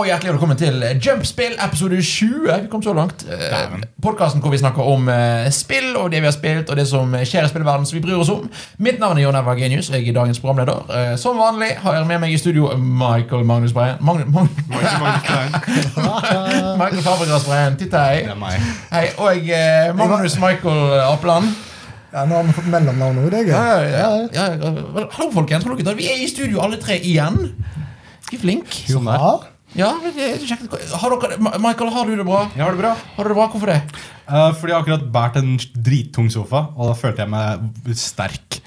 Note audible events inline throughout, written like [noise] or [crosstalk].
hjertelig velkommen til Jumpspill episode 20. Vi kom så langt. Eh, Podkasten hvor vi snakker om eh, spill og det vi har spilt, og det som skjer i spillverdenen som vi bryr oss om. Mitt navn er Jon Edvard Genius, og jeg er dagens programleder. Eh, Som vanlig har jeg med meg i studio Michael Magnus Breien Magn Magn Michael Magnus Klein. Michael Fabregas Breien. Titt hei. Det er meg. Hei, og eh, Magnus Michael Apeland. Ja, nå har vi fått mellomnavn òg, det er Ja, gøy. ja, ja. Hallo, folkens. Hallo, gutter. Vi er i studio alle tre igjen. Vi er flink Ja. Ja, men det er kjekt. Har dere, Ma- Michael, har du det bra? Jeg har det bra. Har du det bra? Hvorfor det? Eh, fordi jeg har akkurat båret en drittung sofa, og da følte jeg meg sterk.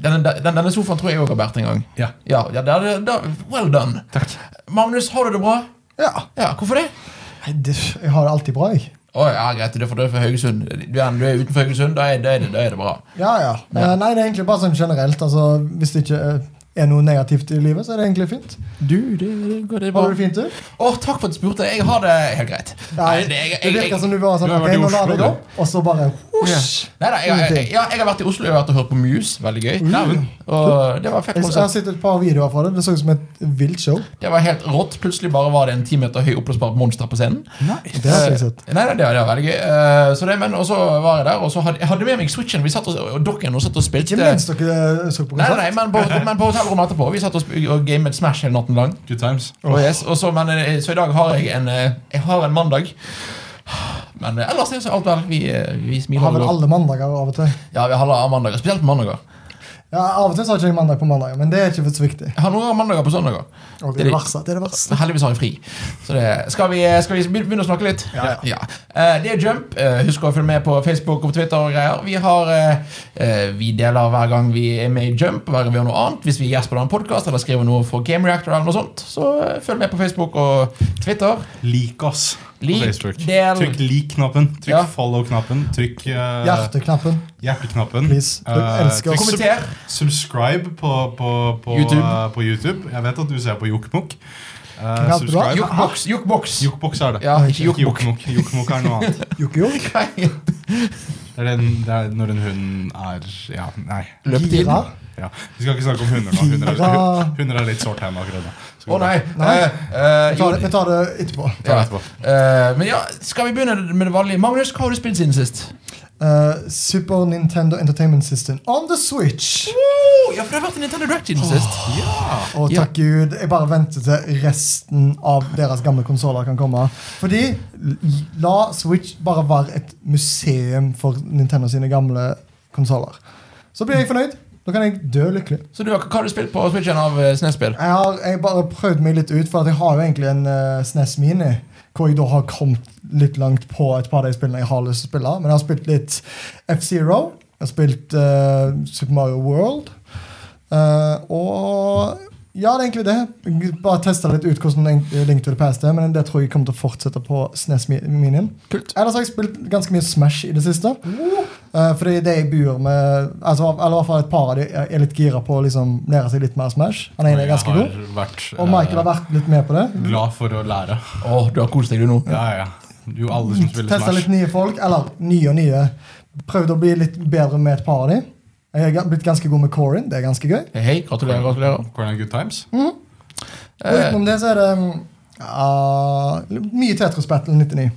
Denne, den, denne sofaen tror jeg òg har båret en gang. Ja. Ja, ja da, da, da, Well done. Takk. Magnus, har du det bra? ja. Ja, hvorfor det? Nei, det, jeg har det alltid bra, jeg. Å ja, greit, det er for du er fra Haugesund. Du er, du er utenfor Haugesund, da er, da, er det, da er det bra. Ja, ja. Eh, Nei, det er egentlig bare sånn generelt. Altså, hvis det ikke eh, er noe negativt i livet, så er det egentlig fint. Du, det, går det Har du det fint, du? Å, takk for at du spurte. Jeg har det helt greit. Nei, det, det jeg, jeg, jeg, virker som du bare sånn Du har Ok, vært i nå lar Oslo, jeg du. opp, og så bare husj. Neida, jeg, jeg, jeg, ja, jeg har vært i Oslo jeg har vært og hørt på Muse. Veldig gøy. Dæven. Og det var fett Jeg jeg har konsert. sett et par videoer fra det. Det så ut som et vilt show. Det var helt rått. Plutselig bare var det en ti meter høy oppblåsbar monster på scenen. Det har ikke jeg sett. Eh, Nei, nei, det var, det var veldig gøy. Eh, Så det, men og så var jeg der, og så hadde jeg hadde med meg switchen. Vi satt og, og dokken og satt og spilte Ikke minst dere eh, så på Nei, nei, konsert. nei, men på, men på hotellrommet etterpå. Vi satt og, sp- og gamet Smash hele natten lang. Good times. Og yes, og så, men, eh, så i dag har jeg en, eh, jeg har en mandag. Men eh, ellers er så alt vel. Vi, eh, vi smiler. Har vel og går. alle mandager av og til. Ja, vi har alle mandager. Spesielt på mandager. Ja, Av og til så har ikke jeg mandag på mandager, men det er ikke så viktig. Jeg har noen mandager på søndager. Og det er det verste. Det er det verste. Heldigvis har jeg fri. Så det, skal, vi, eh, skal vi begynne å snakke litt? Ja, ja. Eh, det er Jump. Eh, husk å følge med på Facebook og på Twitter. og greier Vi har eh, eh, Vi deler hver gang vi er med i Jump, hver gang vi gjør noe annet. Hvis vi er gjest på en annen podkast eller skriver noe for Game Reactor, eller noe sånt så eh, følg med på Facebook og Twitter. Lik oss på Lik, Facebook. del- Trykk lik-knappen. Trykk Ja. follow-knappen. Trykk eh, Hjerteknappen. hjerteknappen. Please. Du Eh, elsker trykk oss. sub- Kommenter. Subscribe på, på, på, YouTube. eh, på YouTube. Jeg vet at du ser på Jokkmokk. du Uh, har? subscribe. Jukebox. Jukebox. Jokkmokk er det. Ja, Nei, ikke Ikke jukebox. Jokkmokk. Jokkmokk er noe annet. Jokk, jokk. Det er, den, det er når en hund er Ja, nei. Løpetid. Gira. Ja. Vi skal ikke snakke om hunder nå. Hunder [laughs] er, Gira. hunder er litt sårt hjemme akkurat nå. Å nei. Nei. Eh, eh, Vi tar det- Vi tar det etterpå. Ta det ja. etterpå. Eh, men ja, skal vi begynne med det vanlige? Magnus, hva har du spilt siden sist? Eh, Super Nintendo Entertainment System on the Switch. Wow, ja, for det har vært en Nintendo Direct siden sist. Og takk Gud, jeg bare venter til resten av deres gamle konsoller kan komme. Fordi l- la Switch bare være et museum for Nintendo sine gamle konsoller. Så blir jeg fornøyd. Da kan jeg dø lykkelig. Så du, hva har du spilt på Switchen av eh, SNES-spill? Jeg har jeg bare prøvd meg litt ut, for at jeg har jo egentlig en eh, SNES Mini. Hvor jeg da har kommet litt langt på et par av de spillene jeg har lyst til å spille. Men jeg har spilt litt F-Zero. Jeg har spilt eh, Super Mario World. Eh, og ja, det er egentlig det. Jeg Bare testa litt ut hvordan den- eh, Link to the Past er, men det tror jeg kommer til å fortsette på SNES Mi- Minien. Kult. Ellers har jeg spilt ganske mye Smash i det siste. Eh, fordi de jeg bor med altså, Eller i hvert fall et par av de er litt gira på å liksom, lære seg litt mer Smash. Han ene er ganske god. Jeg har vært Og Michael har vært litt med på det. eh, glad for å lære. Åh, du har kost deg du nå. Ja, ja. Jo, alle som spiller Testa Mm. litt Smash. nye folk. Eller nye og nye. Prøvd å bli litt bedre med et par av de. Jeg er ga- blitt ganske god med Corin. Det er ganske gøy. Hei, hei, gratulerer, gratulerer. Corner Good Times. Mm. Og utenom det så er det mm, ah, mye Tetris Battle 99.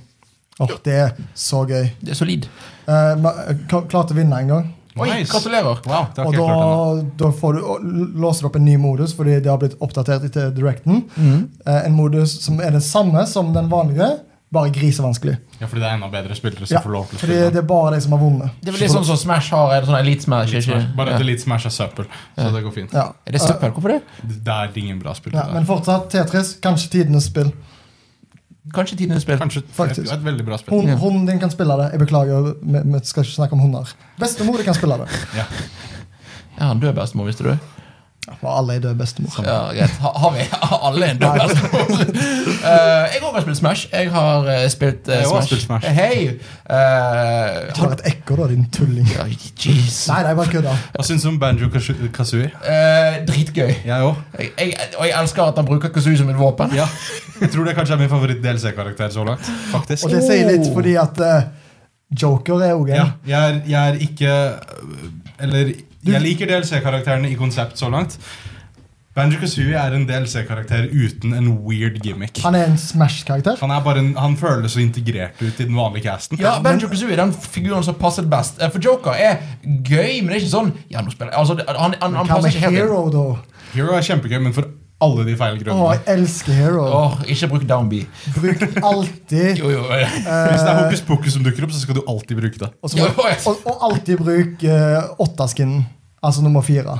Åh, det er så gøy. Det er solid. Eh, ma- jeg kla- klarte å vinne en gang. Oi, Nice. gratulerer. Wow, det har Og ikke jeg da, klart ennå. da får du, og l- låser du opp en ny modus, fordi det har blitt oppdatert til Directen. Mm. Eh, en modus som er den samme som den vanlige, bare grisevanskelig. Ja, fordi det er enda bedre spillere som Ja, får lov til å fordi spille. det er bare de som har vunnet. Det er vel litt sånn som Smash har, er det sånn Elite Smash, ikke? Litt Smash. Bare at Ja. Elite Smash er søppel, så det går fint. Ja. Eh, Er det søppel? Hvorfor det? Det er ingen bra spill. Ja, det der. men fortsatt Tetris. Kanskje tidenes spill. Kanskje tidenes spill. Kanskje et, Faktisk. et veldig bra spill. Hun, Ja. Hunden din kan spille det. Jeg beklager, vi vi skal ikke snakke om hunder. Bestemor kan spille det. Ja. Ja, han dør bestemor, visste du. Og alle er døde bestemor. Ja, greit. Ha, har vi [laughs] alle en dør bestemor? [laughs] Eh, jeg også har spilt Smash. Jeg har eh, spilt eh, Jeg har Smash. også spilt Smash. Hei! eh, Ikke vær et ekko, da, din tulling. ja, Jeez. Nei, nei, bare kødda. Hva syns du om Banjo Kasu- Kazooie? Eh, dritgøy. Jeg òg. Jeg, jeg, og jeg elsker at han bruker Kazoo som et våpen. Ja. Jeg tror det kanskje er min favoritt-DLC-karakter så langt. faktisk. Og det sier litt fordi at eh, Joker er òg en. Ja, jeg er, jeg er ikke Eller jeg liker DLC-karakterene i konsept så langt. Banjo Kazooie er en DLC-karakter uten en weird gimmick. Han er en Smash-karakter. Han, er bare en, han føles så integrert ut i den vanlige casten. Ja, Banjo Kazooie er den figuren som passer best. Eh, For Joker er gøy, men det er ikke sånn Ja, nå spiller jeg altså, det- Han, han, han Hva passer med ikke helt inn. Hero, da? Hero er kjempegøy, men for alle de feil Å, grunnene. jeg elsker Hero. Åh, ikke bruk downbee. Bruk [laughs] alltid Jo, jo. eh, Hvis det er hokus pokus som dukker opp, så skal du alltid bruke det. Og, så må, Jo, jeg- og, og alltid bruk uh, åtta-skinnen. Altså nummer fire.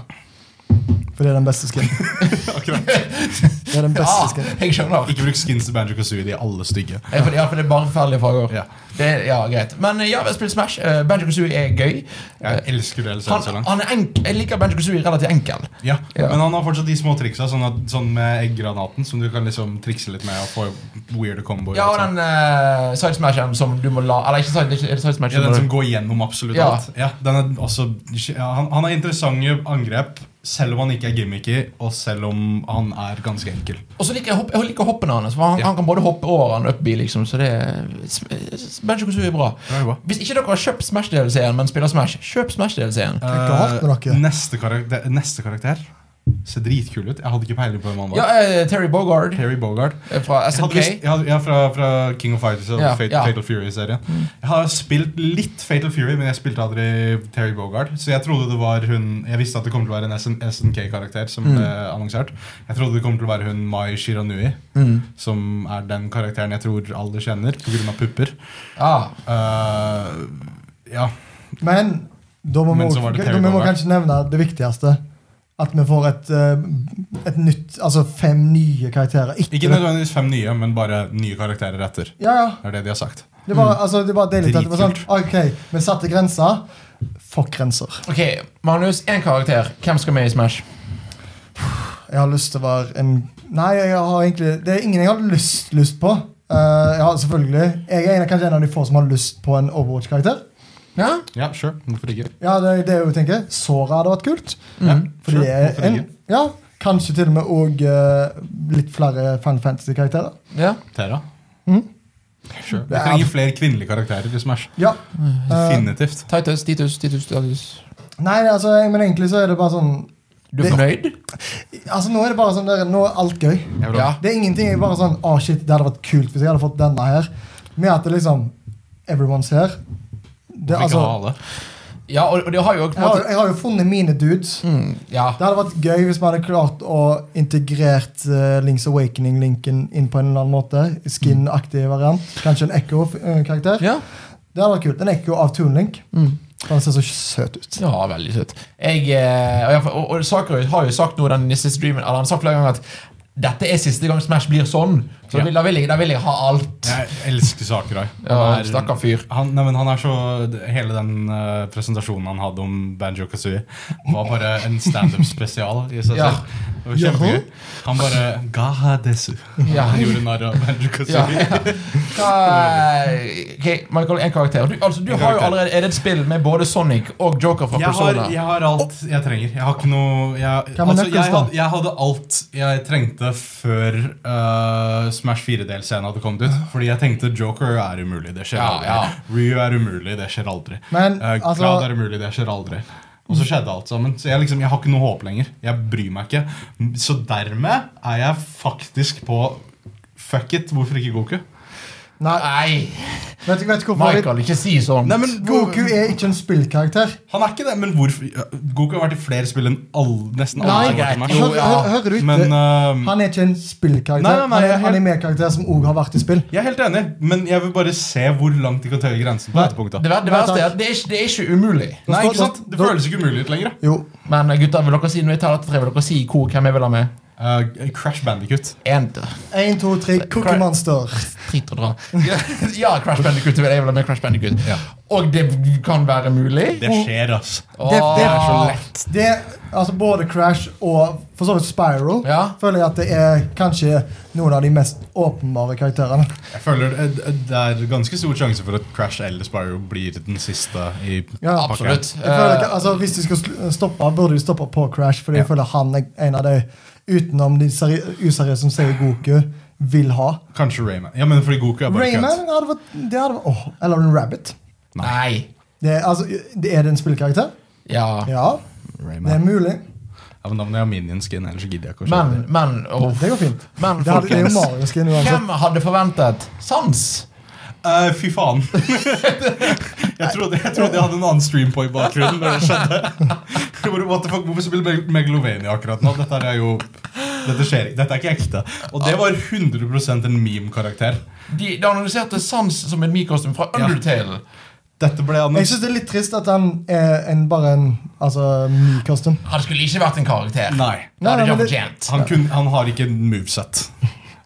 For det er den beste skinnen. [laughs] Akkurat. Det er den beste Ja, skinnen. jeg skjønner. Ikke bruk skins til Banjo Kazooie, de er alle stygge. Ja, for, ja, for det er bare forferdelige farger. Ja. Det er, ja, greit. Men eh, ja, vi har spilt Smash. Eh, Banjo Kazooie er gøy. Jeg elsker DLC-en så Han, langt. han er enk jeg liker Banjo Kazooie relativt enkel. Ja, Ja. Men han har fortsatt de små triksa, sånn, at, sånn med egggranaten, som du kan liksom trikse litt med og få weirde comboer. Ja, og og sånn. den uh, sidesmashen som du må la Eller ikke side, ikke- er det sidesmashen. ja, den men- som går gjennom absolutt Ja. alt. Ja, den er også, ja, han, han har interessante angrep, selv om han ikke er gimmicky, og selv om han er ganske enkel. Og så liker jeg, hopp, jeg liker hoppene hans. For han, Ja. han kan både hoppe over og han opp i, liksom. Så det er- s- s- Banjo Kazooie er bra. Det er bra. Hvis ikke dere har kjøpt Smash-DLC-en, men spiller Smash, kjøp Smash-DLC-en. Klikker hardt med dere. Eh, neste, karakter, neste karakter ser dritkul ut. Jeg hadde ikke peiling på hvem han var. Ja, eh, Terry Bogard Terry Bogard. eh, fra Jeg hadde lyst, SNK. jeg hadde, ja, fra, fra King of Fighters og Ja, Fat- ja. Fatal Fury-serien. Jeg har spilt litt Fatal Fury, men jeg spilte aldri Terry Bogard. Så jeg trodde det var hun Jeg visste at det kom til å være en SN SNK-karakter Mm. som ble annonsert. Jeg trodde det kom til å være hun Mai Shiranui, Mm. som er den karakteren jeg tror alle kjenner pga. pupper. Ja. Eh, ja. Men da må vi, Men så var også- det da må vi Terry kanskje nevne det viktigste. At vi får et, eh, et nytt Altså fem nye karakterer. Ikke Ikke det. nødvendigvis fem nye, men bare nye karakterer etter. Ja, ja. Det er det de har sagt. Det var, altså, det var deilig at det var sånn. Mm. Dritkult. Ok, vi satte grenser. Fuck grenser. Ok, Magnus, én karakter. Hvem skal med i Smash? Jeg har lyst til å være en Nei, jeg har egentlig det er ingen jeg har lyst, lyst på. Eh, ja, selvfølgelig. Jeg er en, kanskje en av de få som har lyst på en Overwatch-karakter. Ja? Ja, sure. Hvorfor ikke? Ja, det, det er jo, tenker jeg. Sora hadde vært kult. Mm. Ja, Fordi sure. jeg, Hvorfor en, ikke? ja, Kanskje til og med òg litt flere Final Fantasy-karakterer. ja. Tera. Mhm. Sure. Vi Det er- trenger flere kvinnelige karakterer i Smash. Ja. eh, Definitivt. Titus, Titus, Titus, Titus. nei, altså, jeg, men egentlig så er det bare sånn Du er Det- fornøyd? Altså, Nå er det bare sånn der, nå er alt gøy. Jeg vil Ja. ha- Det er ingenting. jeg bare sånn, Å, shit, det hadde vært kult hvis jeg hadde fått denne her. Med at det liksom Everyone's her. Hvorfor Det, ikke altså, ha alle? Ja, og, og det har jo på en jeg, har, måte jeg har jo funnet mine dudes. mm, Ja. Det hadde vært gøy hvis vi hadde klart å integrert eh, Links Awakening-linken inn på en eller annen måte. Skin-aktig variant. Kanskje en Echo-karakter. Ja. Det hadde vært kult. En Echo av Toon Link. Mm. Han ser så søt ut. Ja, veldig søt. Jeg, eh, og, jeg- og, og Saker har jo sagt noe den siste streamen Eller han har sagt flere ganger at dette er siste gang Smash blir sånn. Så da Ja. vil- da, vil jeg, da vil jeg ha alt. Jeg elsker Sakurai. Ja, Han er- Stakkar fyr. han, nei, men han er så, Hele den eh, presentasjonen han hadde om Banjo Kazooie, var bare en standup-spesial i seg Ja. selv. Det var kjempegøy. Han bare Gaha desu. Ja. Han gjorde narr av Banjo Ja, Kazooie. ja. Hva- ok, Michael, en karakter. Du, altså, du En har jo karakter. allerede er det et spill med både Sonic og Joker fra Jeg har, Persona. jeg har alt jeg trenger. Jeg har ikke noe Jeg, Hva med altså, Knuckles, jeg, da? hadde, jeg hadde alt jeg trengte før eh, Smash 4-delscenen hadde kommet ut. Fordi jeg tenkte Joker er umulig, det skjer Ja, aldri. ja. Ryu er umulig, det skjer aldri. Men, Eh, altså- Cloud er umulig, det skjer aldri. Og så skjedde alt sammen. Så jeg, liksom, jeg har ikke noe håp lenger. Jeg bryr meg ikke. Så dermed er jeg faktisk på Fuck it, hvorfor ikke Goku? Nei, Nei, vet du vet du hvorfor? Michael, ikke si sånn. Nei, men Goku er ikke en spillkarakter. Han er ikke det, men hvorfor Goku har vært i flere spill enn all, nesten alle. som har vært Nei, i greit. Smash. Jo, Hør, ja. hør, hører du ikke? Men eh, han er ikke en spillkarakter. Nei, nei, nei, han er jeg er en helt- animekarakter som òg har vært i spill. Jeg er helt enig, men jeg vil bare se hvor langt de kan tøye grensen. på dette punktet. Det, ver det Nei, verste er takk. at det er, ikke- det er ikke umulig. Nei, Da- ikke sant? da- Det da- føles ikke umulig ut lenger. da. Jo. Men eh, gutter, vil dere si når jeg tar dette tre, vil dere si hvor, hvem jeg vil ha med? Eh, Crash Bandicut. En, Én, to, tre, Cookie Monster. drit og [laughs] dra. Ja, Crash Bandicoot. Jeg vil ha med Crash Bandicoot. Ja. Og det kan være mulig. Det skjer, ass. Det, det, Åh. det, altså Både Crash og for så vidt Spyro Ja. føler jeg at det er kanskje noen av de mest åpenbare karakterene. Jeg føler eh, Det er ganske stor sjanse for at Crash eller Spyro blir den siste i Ja, pakka. Absolutt. Jeg føler ikke, altså Hvis de skal sl- stoppe, burde de stoppe på Crash, fordi Eh. jeg Ja. føler han er en av de utenom de seri useriøse som sier Goku, vil ha. Kanskje Rayman. Ja, men fordi Goku er bare Rayman kødd. hadde vært, det hadde vært åh, Eller en Rabbit. Eh, Nei. Det, er- altså, det er det en spillkarakter? Ja. Ja, det er Rayman. mulig. Ja, men Da må jeg ha minion skin, ellers så gidder jeg ikke å Men, kjøpe det. men, uff. Det går fint. men Det, hadde, det er jo folkens, Mario-skin uansett. hvem hadde forventet sans? Eh, fy faen. [laughs] jeg, trodde, jeg trodde jeg hadde en annen stream på i bakgrunnen. Når det skjedde [laughs] Jeg bare, What the fuck, Hvorfor spiller Meg- Megalovania akkurat nå? Dette er jo Dette skjer ikke. Dette er ikke ekte. Og det var 100 en meme-karakter. De, de analyserte sans som en mikrostyme fra Ja. Undertale. Dette ble Jeg annons... syns det er litt trist at han er en, bare en altså, ny custom. Han skulle ikke vært en karakter. Nei. Det hadde Nei, nei, ikke men han det- fortjent. Han, kun, han har ikke moveset.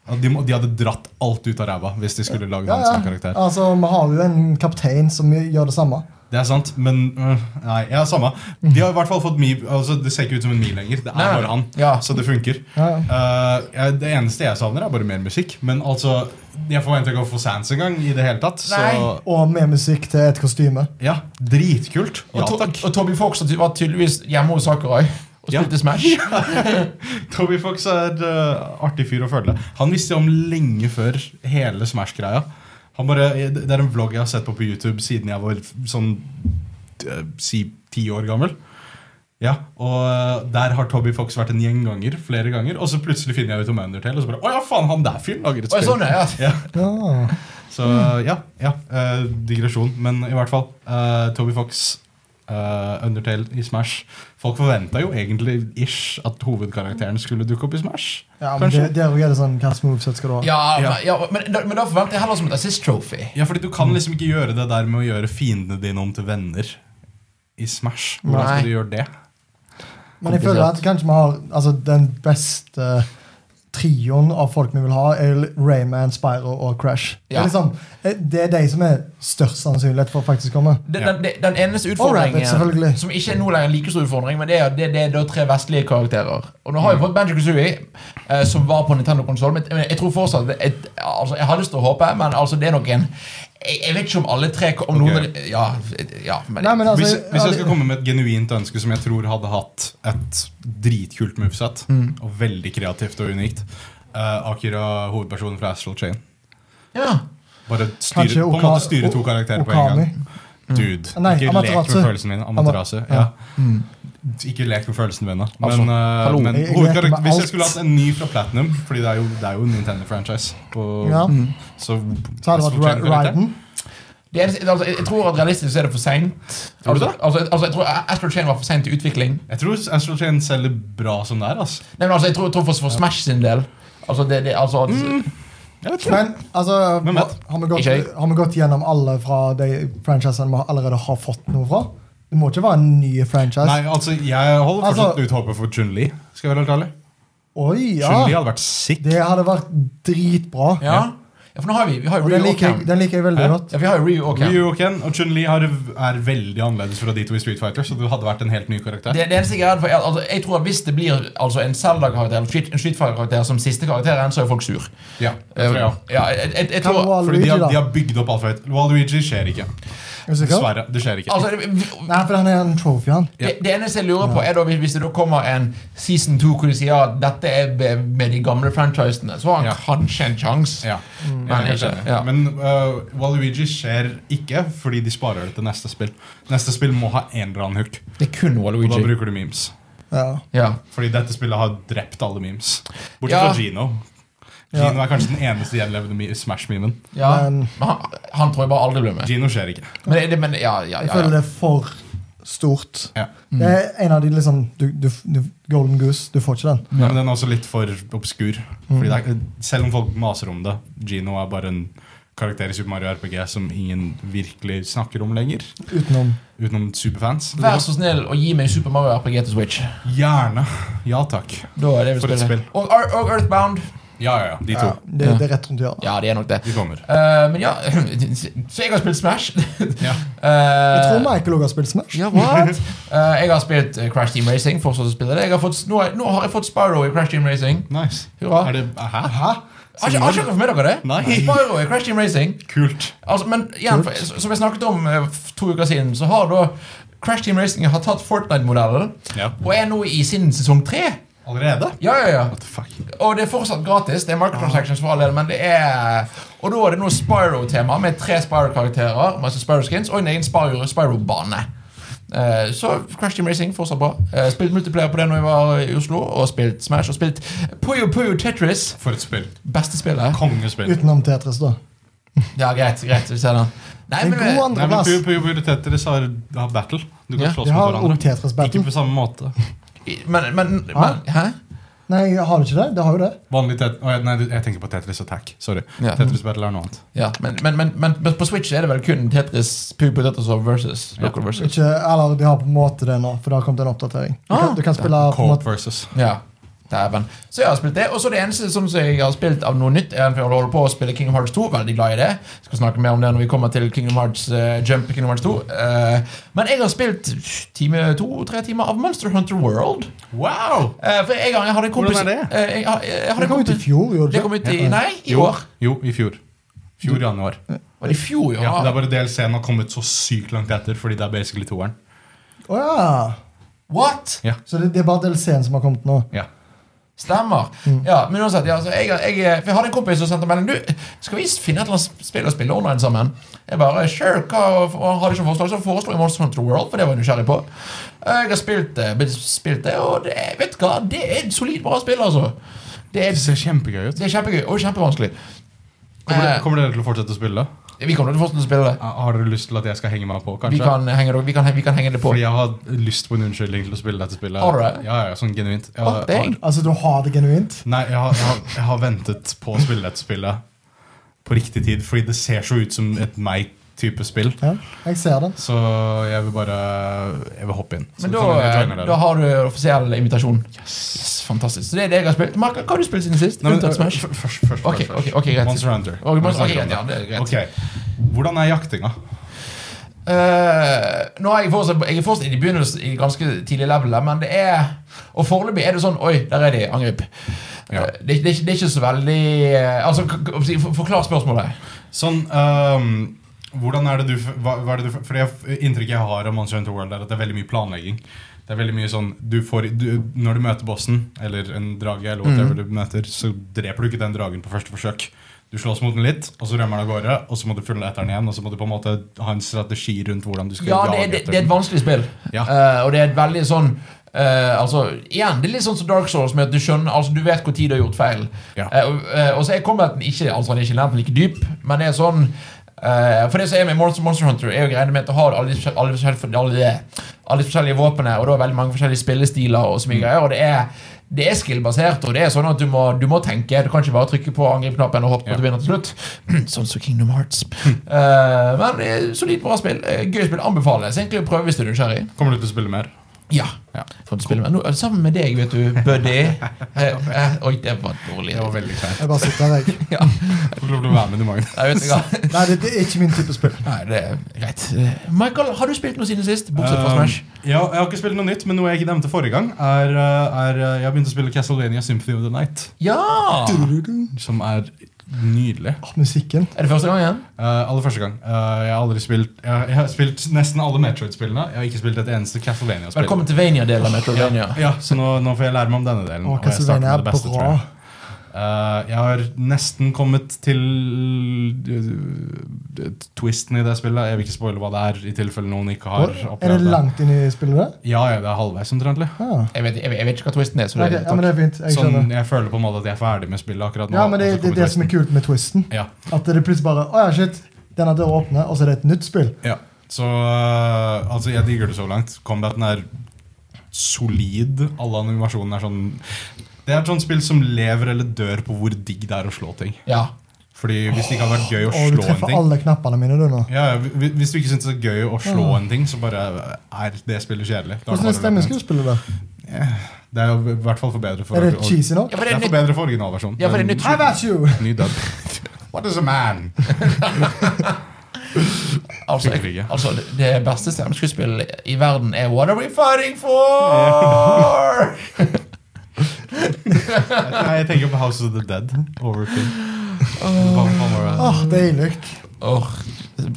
Og De, må- de hadde dratt alt ut av ræva hvis de skulle lage Ja, hans ja. sånn karakter. Altså, Vi har jo en kaptein som gjør det samme. Det er sant, men øh, Nei, ja, samme. De har i hvert fall fått me, altså, Det ser ikke ut som en me lenger. Det er Nei, nei. bare han. Ja. Så det funker. Ja, ja. Eh, jeg- det eneste jeg savner, er bare mer musikk. Men altså, jeg forventer ikke å få Sans engang. I det hele tatt Så Nei. Og med musikk til et kostyme. ja, dritkult. Og, Ja to, takk. og Toby Fox var tydeligvis hjemme hos Sakurai og Ja. spilte Smash. Toby Fox er et eh, artig fyr å følge. Han visste om lenge før hele Smash-greia. Han bare, Det er en vlogg jeg har sett på på YouTube siden jeg var sånn eh, si ti år gammel. Ja, og eh, Der har Toby Fox vært en gjeng ganger, flere ganger. Og så plutselig finner jeg ut om Undertale, og så bare Å ja, faen, han der fyren lager et Oi, spill. sånn, ja. Ja, Ja. så eh, ja, ja eh, digresjon. Men i hvert fall, eh, Toby Fox, eh, Undertale i Smash Folk forventa jo egentlig ish at hovedkarakteren skulle dukke opp i Smash. Ja, men det, Kanskje. der også er det sånn Hva slags moveset skal du ha? Ja, Ja. men- ja, men, da- men da forventer jeg heller som et assist trophy. Ja, fordi du kan liksom ikke gjøre det der med å gjøre fiendene dine om til venner i Smash. Hvordan Nei. skal du gjøre det? Men jeg føler at kanskje vi har altså, den beste trioen av folk vi vil ha, er Rayman, Spyro og Crash. Det, Ja. er liksom, eh, det er de som er størst sannsynlighet for å faktisk komme. Den, Ja. den, den eneste Rabbit, utfordringen selvfølgelig. som ikke er noe lenger en like stor utfordring, men det er, det, det er da tre vestlige karakterer. Og nå Mm. har jeg fått Benji Kazooie, eh, som var på Nintendo-konsollen. Men jeg- jeg tror fortsatt jeg, altså, jeg har lyst til å håpe, men altså, det er nok en jeg, jeg vet ikke om alle tre om Ok. noen, Ja, ja men, Nei, men altså, hvis, hvis jeg ja, skal komme med et genuint ønske som jeg tror hadde hatt et dritkult moveset, Mm. og veldig kreativt og unikt eh, Akira, hovedpersonen fra Astral Chain. ja. Bare Kanskje styre, på en Oka- måte styre to O- karakterer på en Okami. gang. Mm. Dude, Nei, ikke lek Amaterasu. Mm. med følelsene mine. Amaterasu. Ja. Ikke lek med følelsene mine. Altså, Men, eh, hallo. men Jeg- jeg leker hovedkarakter, med hvis alt. jeg skulle hatt en ny fra Platinum Fordi det er jo, det er jo en Nintendo-franchise. og- Ja. Så, Så har det Astral vært Chain-karakter. Ra- Raiden. Det eneste, altså, jeg, jeg tror at realistisk så er det for seint. Tror du Altså, det? altså, altså, jeg tror Astral Chain var for seint i utvikling. Jeg tror Astral Chain selger bra som det er. Altså. Nei, men altså, jeg tror, jeg tror for, for Smash sin del Altså, det, det, altså at, Mm. Jeg vet ikke. Men altså, Hvem vet? har vi, gått, Ikke jeg. har vi gått gjennom alle fra de franchisene vi allerede har fått noe fra? Det må ikke være en ny franchise. Nei, altså, jeg holder Altså- fortsatt ut håpet for Chun-Li. Skal jeg være helt ærlig Oi, Chun-Li ja! hadde vært sick. Det hadde vært dritbra. ja. ja, for nå har vi, vi har jo Og den Ryu og liker, Cam. jeg, den liker jeg veldig Hæ? godt. Ja, vi har jo Ryu og Cam. Ryu og Ken og Chun-Li har- er veldig annerledes fra de to i Street Fighter. Så du hadde vært en helt ny karakter. Det, det eneste jeg er redd for er at altså, Jeg tror at Hvis det blir altså, en Zelda-karakter eller Street- en Street Fighter-karakter som siste karakteren, så er folk sur. Eh, Ja, det tror jeg også. Ja, jeg, jeg, jeg Kan tror Eh, Fordi de Waluigi, har, de da? har bygd opp alt for høyt. Waluigi skjer ikke. Er du sikker? Dessverre. Det skjer ikke. Altså, det, Nei, for han er en trophy, han. Ja. det, det eneste jeg lurer på, er da hvis- hvis det da kommer en season 2 hvor de sier at dette er be- med de gamle franchisene, så har han Ja. kanskje en sjanse. Ja. Mm. Nei, Jeg er helt ikke. enig. Ja. Men øh, Waluigi skjer ikke fordi de sparer det til neste spill. Neste spill må ha en eller annen hook, Det er kun og da Waluigi. bruker du memes. Ja. Ja. Fordi dette spillet har drept alle memes. Bortsett Ja. fra Gino. Ja. Gino er kanskje den eneste gjenlevende me- Smash-memen. ja. Men- Men han, han tror jeg bare aldri blir med. Gino skjer ikke. Men, det- det, men ja, ja, Jeg ja, føler ja. det er for stort. Ja. Mm. Det er en av de liksom du, du, du, Golden Goose, du får ikke den. Ja, men den er også litt for obskur. Fordi det Mm. er, selv om folk maser om det, Gino er bare en karakter i Super Mario RPG som ingen virkelig snakker om lenger. Utenom Utenom superfans. Vær så snill og gi meg Super Mario RPG til Switch. Gjerne. Ja takk. Da er det vi For et spiller. spill. Og, og og Earthbound. Ja, ja, ja. De to. ja, det, Ja. det er rett rundt hjørnet. Ja, det er nok det. De kommer. Eh, men ja [laughs] Så jeg har spilt Smash. [laughs] Ja. Jeg tror uh, Michael også har spilt Smash. ja, what? Eh, jeg har spilt eh, Crash Team Racing. Fortsatt å spille det jeg har fått, nå, har- nå har jeg fått Spyro i Crash Team Racing. Nice. Hurra. Er det, hæ? hæ? Har ikke, har ikke dere fått med dere det? Nei. Spyro i Crash Team Racing. Kult. Altså, men igjen, for, som jeg snakket om eh, f- to uker siden, så har da Crash Team Racing har tatt Fortnite-modellen Ja. og er nå i sin sesong tre. Allerede? Ja, ja, ja. What the fuck? Og det er fortsatt gratis. Det er microtransactions for all del, men det er Og da er det nå Spyro-tema med tre Spyro-karakterer, masse Spyro-skins og en egen Spyro- Spyro-bane. Eh, så Crash Team Racing fortsatt bra. Eh, spilt multiplayer på det når jeg var i Oslo, og spilt Smash og spilt Puyo Puyo Tetris. For et spill. Beste spillet. Kongespill. Utenom Tetris, da. Ja, greit. greit, vi ser den. Nei, En men, eh, god Nei, men andreplass. Puyo Puyo Puyo Tetris har, har battle. Du kan Ja. slåss Jeg mot har også hverandre. Ikke Tetris-battle. på samme måte. eh, men, men, men Hæ? Nei, har du ikke det? Det har jo det. Vanlig tet Å, ja, Nei, du- jeg tenker på Tetris Attack. Sorry. Ja. Tetris Battle er noe annet. Ja, men, men, men, men, men på Switch er det vel kun Tetris, Puyo Puyo Tetris og versus. Local versus. Ikke, eller de har på en måte det nå, for det har kommet en oppdatering. Du Ah. kan, du kan spille på en Coop måte versus. Ja, dæven. Så jeg har spilt det. Og så det eneste som jeg har spilt av noe nytt, er at jeg holder på å spille Kingdom Hearts 2. Veldig glad i det. Skal snakke mer om det når vi kommer til Kingdom Hearts eh, Jump Kingdom Hearts 2. Eh, men jeg har spilt time, to-tre timer av Monster Hunter World. Wow! Eh, for jeg, jeg hadde en kompis Hvordan er det? Eh, jeg, jeg, jeg hadde Det en kom ut i kompis, fjor, gjorde det det kom ikke? ut i Nei, i Jo, år. jo i fjor. Fjor januar. Var det i fjor? Ja, det Ja. er bare DLC-en har kommet så sykt langt etter, fordi det er basically toeren. Å ja. What? Så det, det er bare DLC-en som har kommet nå. Ja. Stemmer. Mm. Ja, men uansett, ja, så jeg, jeg, for jeg hadde en kompis som sendte melding Du, skal vi finne et eller annet spill å spille online sammen. Jeg bare, sure, hva, og han hadde ikke forslag, så foreslo jeg Monster Hunter World, for det var jeg nysgjerrig på. Jeg har spilt det, blitt- spilt det og det, er- vet du hva, det er et solid bra spill, altså. Det Det er, ser kjempegøy ut. det er kjempegøy og kjempevanskelig. Kommer, dere- kommer dere til å fortsette å spille? Eh, vi kommer til å fortsette å spille det. Har dere lyst til at jeg skal henge meg på, Vi kanskje? kan henge, det- vi kan, vi kan henge det på. Fordi jeg har lyst på en unnskyldning til å spille dette spillet. Har du det? Ja, ja, sånn genuint. Jeg Å, har, dang. har, Altså, du har det genuint? nei, jeg har, jeg, har, jeg har ventet på å spille dette spillet på riktig tid, fordi det ser så ut som et meg-type spill. Ja, jeg ser det. Så jeg vil bare Jeg vil hoppe inn. Så Men det kan sånn jeg da, joine dere. da har du offisiell invitasjon. Yes, Fantastisk. Så det er det jeg har spilt. Mark, hva har du spilt siden sist? Nei, men, Unntatt Smash. f- Først, først, først, Ok, først. ok, ok, greit. Monster Hunter. Ok, Monster- Monster ok, Hunter. ja, det er greit. Ok. Hvordan er jaktinga? Eh, nå er jeg fortsatt, jeg er fortsatt i begynnelsen i ganske tidlig level, men det er Og foreløpig er det sånn Oi, der er de. Angrip. Ja. Eh, det, det, er ikke- det er ikke så veldig eh, Altså, k- k- si- for- Forklar spørsmålet. Sånn ehm, Hvordan er det du f- hva, hva er det du f- For jeg, inntrykket jeg har av Monster Hunter World, er at det er veldig mye planlegging. Det er veldig mye sånn du får, du, Når du møter bossen, eller en drage, eller Mhm. whatever du møter, så dreper du ikke den dragen på første forsøk. Du slåss mot den litt, og så rømmer den av gårde. Og så må du følge etter den igjen, og så må du på en måte ha en strategi rundt hvordan du skal Ja, det, jage er- det, etter det er et den. vanskelig spill. Ja. Eh, og det er et veldig sånn eh, altså, igjen, Det er litt sånn som Dark Souls, med at du skjønner Altså, du vet når du har gjort feil. Ja. Eh, og, eh, og så er combaten ikke Altså, han er ikke lent like dyp, men det er sånn eh, For det som er med Monster, Monster Hunter, er jo greiene med at du har alle de, forskjell- alle de, forskjell- alle de, alle de forskjellige våpnene, og du har veldig mange forskjellige spillestiler og så Mm. mye greier, og det er det er skill-basert, og det er sånn at du må, du må tenke. Du kan ikke bare trykke på angripknappen og hoppe Ja. Mm. og du vinner til slutt. [clears throat] sånn som Kingdom Hearts. Eh, men eh, solid, bra spill. Eh, gøy spill. Anbefales egentlig å prøve hvis du er nysgjerrig. Kommer du til å spille mer? Ja. Ja. Får du spille med. Nå, eh, sammen med deg, vet du, buddy. [laughs] Eh, eh, oi, det var dårlig. Det var veldig kleint. [laughs] Jeg bare sitter her, jeg. [laughs] Ja. Du får lov til å være med, du, Magnus. Nei, [laughs] vet du hva. Nei, det, det er ikke min type spill. Nei, det er greit. Eh, Michael, har du spilt noe siden sist? Bortsett fra Um, Smash. Ja, jeg har ikke spilt noe nytt, men noe jeg ikke nevnte forrige gang, er, uh, er uh, Jeg har begynt å spille Castlevania Symphony of the Night, Ja! Er som er nydelig. Åh, musikken. det første gang igjen? Uh, aller første gang. Uh, jeg har aldri spilt jeg, jeg har spilt nesten alle Metroid-spillene. Jeg har ikke spilt et eneste Castlevania-spill. Velkommen til Vania-delen av Metrovania. Ja, så nå, nå får jeg lære meg om denne delen. Åh, jeg starter Castlevania med er det beste, bra. tror jeg. Uh, jeg har nesten kommet til uh, twisten i det spillet. Jeg vil ikke spoile hva det er, i tilfelle noen ikke har Åh, Er det opplevd det. langt inn i spillet, det? Ja, ja, det er halvveis omtrentlig. Ah. Jeg vet, jeg, vet- jeg vet ikke hva twisten er. Så det, Ok, takk. ja, men det er fint. Jeg sånn, eh, altså skjønner. jeg føler på en måte at jeg er ferdig med spillet akkurat nå. Ja, men det, og så det kommer er det som er twisten. kult med twisten. Ja, At det plutselig bare Å ja, shit. Den er død å åpne, og så er det et nytt spill. ja. Så øh, altså, jeg digger det så langt. Combaten er solid. Alle animasjonene er sånn Det er et sånt spill som lever eller dør på hvor digg det er å slå ting. Ja. Fordi hvis det ikke hadde vært gøy å Og du slå en treffer ting alle knappene mine, du, nå. ja, ja, hvi- Hvis du ikke syns det er gøy å slå en ting, så bare er det spillet kjedelig. Da er det bare å løpe Hvordan er rundt. stemmeskuespillet der? Det er jo i hvert fall for bedre for Er det cheesy nå? Ja, for det er Det er for nytt. bedre for originalversjonen. Ja, for det er men- nytt. How about you? Ny dub. [laughs] What is a man? Altså, Sikkert ikke. jeg, altså det- det beste stemmeskuespillet i verden er What are we fighting for? Nei, jeg tenker på House of the Dead. Overkill. Bang, bang, bang. Åh, Deilig. [laughs] Åh,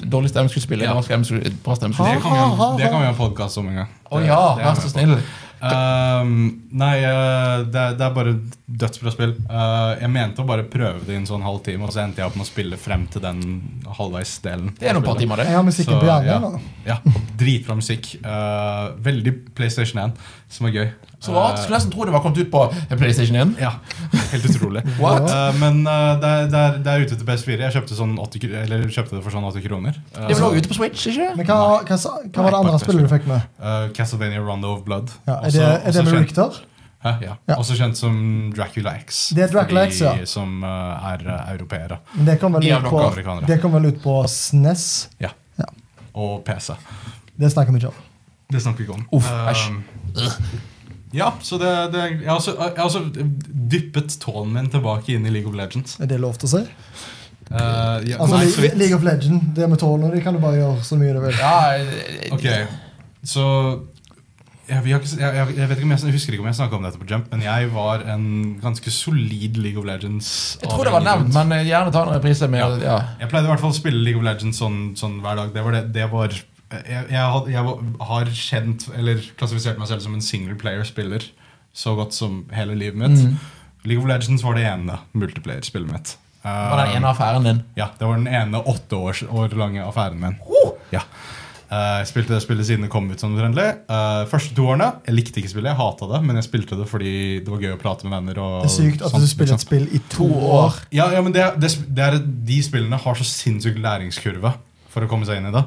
dårlig stemmeskuespill. eller Bra stemmeskuespill. Det kan vi ha- det kan vi ha en podkast om en gang. Å ja, Det- det er vær jeg så med snill. på. Ehm, nei, eh, det, er- det er bare dødsbra spill. Eh, jeg mente å bare prøve det i en sånn halv time, og så endte jeg opp med å spille frem til den halvveisdelen. Det er noen par av spillet. timer, Jeg det. har musikken Så, på hjernen ja. nå. Ja, Dritbra musikk. Eh, veldig PlayStation 1, som er gøy. Så rart. Eh, Skulle nesten tro det var kommet ut på PlayStation 1. ja, Helt utrolig. [laughs] What? Eh, men eh, det, er, det, er, det er ute til PS4. Jeg kjøpte, sånn 80, kr- eller, kjøpte det for sånn 80 kroner. Eh, Det er vel også ute på Switch, ikke Men hva, hva, sa- hva var det andre bare spillet du fikk med? eh, Castlevania Rondo of Blood. Ja, er, Også- det, er også det med kjent- Richter? Hæ? Ja. Ja. Også kjent som Dracula X. Det er Dracula for de X, ja. Som eh, er eh, europeere. Men Det kom vel De er ut nok på, amerikanere. det kom vel ut på SNES. Ja. Ja. Og PC. Det snakker vi ikke om. Det snakker vi ikke om. Uff, Eh, æsj. ja, så det, det jeg, har også, jeg har også dyppet tåen min tilbake inn i League of Legends. Er det lov til å si? Eh, ja, Altså, nei, Le- så vidt. League of Legend, det med tårn og de kan du bare gjøre så mye du vil. Ja, Ok, så jeg, vi har ikke, jeg, jeg, jeg vet ikke om jeg, jeg husker ikke om jeg snakka om dette på Jump, men jeg var en ganske solid League of Legends. jeg tror det var nevnt, men eh, gjerne ta en reprise med ja. Jeg pleide i hvert fall å spille League of Legends sånn, sånn hver dag. Det var det, det var jeg, jeg, had- jeg var- har kjent, eller klassifisert meg selv som en single player-spiller så godt som hele livet mitt. Mm. League of Legends var det ene multiplayer-spillet mitt. Eh, Det var den ene affæren din. Ja, det var den ene åtte års, år lange affæren min. Ja. Eh, jeg spilte det spillet siden det kom ut. sånn omtrentlig. Eh, første to årene jeg likte ikke spillet, jeg hata det, men jeg spilte det fordi det var gøy å prate med venner. Og, Det er sykt at sånt, du spiller liksom. et spill i to år. Ja, ja men det, det, det er, De spillene har så sinnssykt læringskurve for å komme seg inn i det.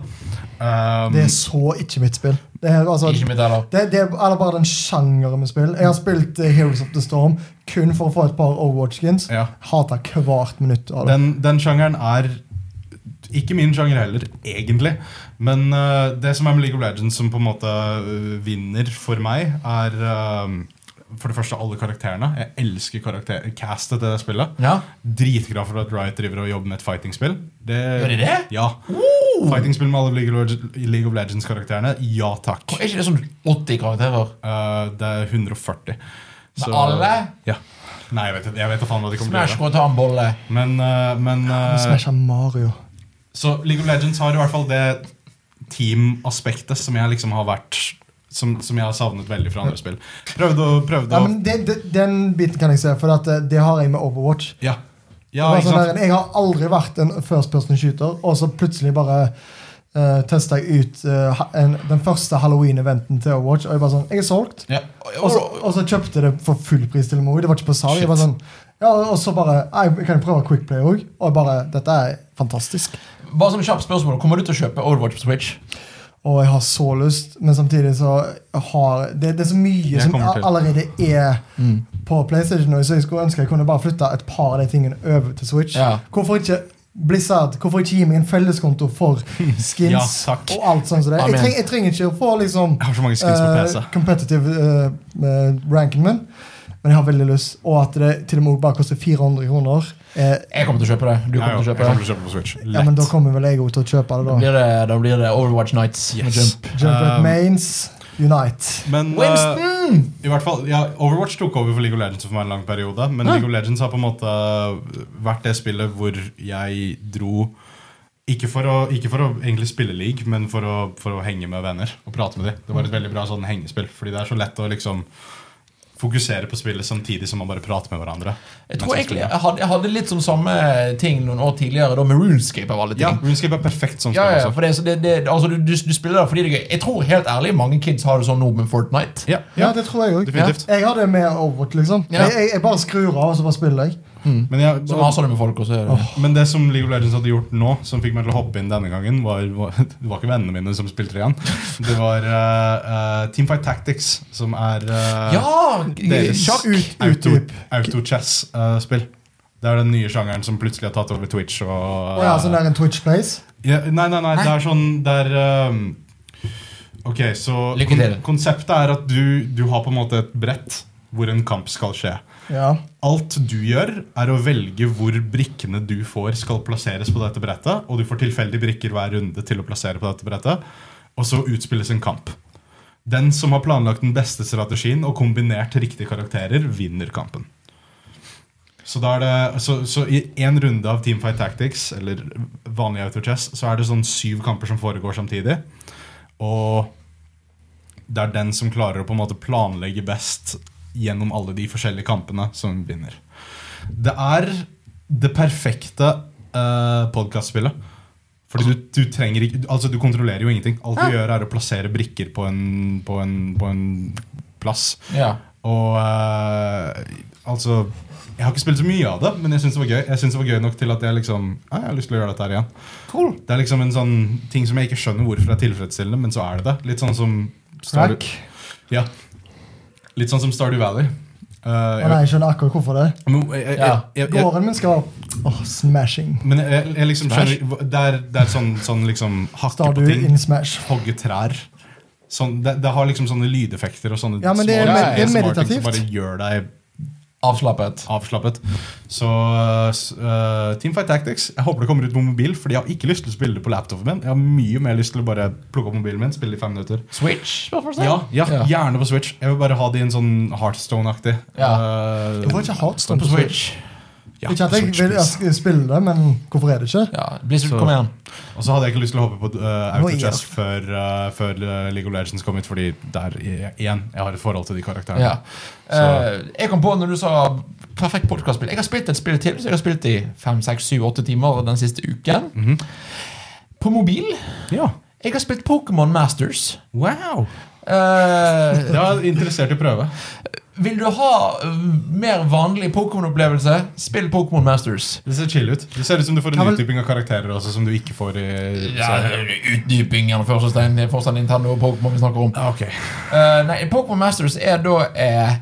Um, Det er så ikke mitt spill. Det er, altså, Ikke mitt heller. det, det er eller bare den sjangeren med spill. Jeg har spilt eh, Heroes of the Storm kun for å få et par Overwatch-skins. Ja. Hater hvert minutt av det. den, den sjangeren er ikke min sjanger heller, egentlig. Men eh, det som er med League of Legends som på en måte eh, vinner for meg, er eh, for det første alle karakterene. Jeg elsker karakter castet til det spillet. Ja. Dritglad for at Riot driver og jobber med et fighting-spill. Gjør de det? Ja. Fighting-spill med alle League of Leg- League of Legends-karakterene. Ja takk. Er ikke det sånn 80 karakterer? Eh, det er 140. Med alle? Ja. Nei, jeg vet, jeg vet da faen hva de kommer Smash til å gjøre. går og ta en bolle. Men, eh, men eh, Smasha Mario. Så League of Legends har i hvert fall det team-aspektet som jeg liksom har vært som, som jeg har savnet veldig fra andre spill. Prøvde å prøvde Ja, å men det, det, den biten kan jeg se, for at eh, det har jeg med Overwatch. Ja. ja Det var ikke sånn sant? der, jeg har aldri vært en first person shooter, og så plutselig bare uh, testa jeg ut eh, ha- en, den første Halloween-eventen til Overwatch, og jeg bare sånn Jeg er solgt. Ja. Og så, og så kjøpte jeg det for full pris til og med. Det var ikke på salg. Jeg var sånn, ja, og så bare jeg, Kan jeg prøve Quickplay òg? Og jeg bare Dette er fantastisk. Bare som kjapt spørsmål, Kommer du til å kjøpe Overwatch på Switch? Og jeg har så lyst, men samtidig så har Det, det er så mye Jeg som kommer til. allerede er Mm. på PlayStation, nå, så jeg skulle ønske jeg kunne bare flytte et par av de tingene over til Switch. Ja. Hvorfor ikke Blizzard, hvorfor ikke gi meg en felleskonto for skins [laughs] Ja, takk. og alt sånt som det? Jeg, Amen. treng, jeg trenger ikke å få liksom Jeg har så mange skins på eh, PC. competitive eh, eh, ranken min, men jeg har veldig lyst. Og at det til og med bare koster 400 kroner. Eh, Jeg kommer til å kjøpe det. Du Ja, kommer til å jo, jeg kjøpe kommer det. til å kjøpe på Switch. ja, men Lett. da kommer vel jeg òg til å kjøpe det, Da da. blir det, da blir det Overwatch Nights. med Yes. Jump. Junkrat Um, Mains, Unite. Men eh, Winston! i hvert fall, ja, Overwatch tok over for League of Legends for meg en lang periode. Men Ah. League of Legends har på en måte vært det spillet hvor jeg dro Ikke for å, ikke for å egentlig spille league, men for å, for å henge med venner og prate med dem. Det var et veldig bra sånn hengespill, fordi det er så lett å liksom fokusere på spillet samtidig som man bare prater med sånn hverandre. Jeg mens tror man egentlig spiller. jeg hadde, jeg hadde litt sånn samme ting noen år tidligere, da med RuneScape av alle ting. Ja, Sånn RuneScape er perfekt som Ja, ja, spill. ja, også. for det, så det, det, altså, du, du, du spiller det fordi det er gøy. Jeg tror helt ærlig mange kids har det sånn nå med Fortnite. Ja, Ja, ja, det tror jeg òg. definitivt. Jeg har det med Overwatch, liksom. Ja. Ah. Jeg, jeg, jeg bare skrur av, og så bare spiller jeg. Men jeg, Som har sånn med folk også. er det- Men det som League of Legends hadde gjort nå, som fikk meg til å hoppe inn denne gangen, var, var, det var ikke vennene mine som spilte det igjen. Det var eh, eh, Teamfight Tactics, som er eh, Ja! Deres Sjakk! Ut, auto- utdyp. auto-chess-spill. det er den nye sjangeren som plutselig har tatt over Twitch. Og, Å ja, sånn der en Twitch Place. Ja, nei, nei, nei, det er sånn Det er ehm, Ok, så Lykke til. kon- konseptet er at du, du har på en måte et brett hvor en kamp skal skje. Ja. Alt du gjør, er å velge hvor brikkene du får, skal plasseres på dette brettet. Og du får tilfeldige brikker hver runde til å plassere på dette brettet. Og så utspilles en kamp. Den som har planlagt den beste strategien og kombinert riktige karakterer, vinner kampen. Så, da er det, så, så i én runde av Teamfight Tactics, eller vanlig Autochess, så er det sånn syv kamper som foregår samtidig. Og det er den som klarer å på en måte planlegge best gjennom alle de forskjellige kampene, som vinner. Det er det perfekte uh, podkastspillet. Fordi du, du trenger ikke Altså du kontrollerer jo ingenting. Alt du gjør, er å plassere brikker på en, på en, på en plass. Ja. Og eh, altså Jeg har ikke spilt så mye av det, men jeg syns det var gøy Jeg synes det var gøy nok til at jeg liksom ah, Jeg har lyst til å gjøre dette her igjen. Cool. Det er liksom en sånn ting som jeg ikke skjønner hvorfor er tilfredsstillende, men så er det det. Litt sånn som Stardew- Crack. Ja. Litt sånn som Stardew Valley. Eh, Å nei, jeg skjønner akkurat hvorfor det. jeg, men, jeg, jeg, Ja. jeg, jeg, Gården min skal være Åh, smashing. men jeg, jeg liksom skjønner Det er, det er sånn, sånn liksom hakke på Stardew ting. in smash. Hogge trær. Sånn, det, det har liksom sånne lydeffekter og sånne Ja, men det er små- med- det er små ting meditativt. som bare gjør deg Avslappet. avslappet. Så uh, s- uh, Teamfight Tactics Jeg håper det kommer ut på mobil, Fordi jeg har ikke lyst til å spille det på laptopen min. Jeg har mye mer lyst til å bare plukke opp mobilen min, spille i fem minutter. Switch? hva for å si? Ja, ja, Ja. Gjerne på Switch. Jeg vil bare ha det i en sånn Heartstone-aktig. Ja. Uh, Det var ikke Heartstone På Switch. ja, Ikke at på jeg Switch, vil please. jeg spille det, men hvorfor er det ikke? sånn Ja, Blizzard, Så- kom igjen. Og så hadde jeg ikke lyst til å hoppe på uh, Nå er jeg- Autochess før, uh, før uh, League of Legends kom ut, fordi der i- igjen, jeg har et forhold til de karakterene. Ja. Eh, jeg kom på når du sa perfekt podkastspill. Jeg har spilt et spill til. Så jeg har spilt i 5-6-7-8 timer den siste uken. Mhm. På mobil. Ja. Jeg har spilt Pokémon Masters. Wow! Eh, Det var interessert i å prøve. vil du ha eh, mer vanlig Pokémon-opplevelse, spill Pokémon Masters. Det ser chill ut. Det ser ut som du får en Hva vel- utdyping av karakterer også, som du ikke får i serien. utdyping gjennom førstestein. Det er fortsatt Nintendo og Pokémon vi snakker om. Ah, ok. Eh, nei, Pokémon Masters er da eh,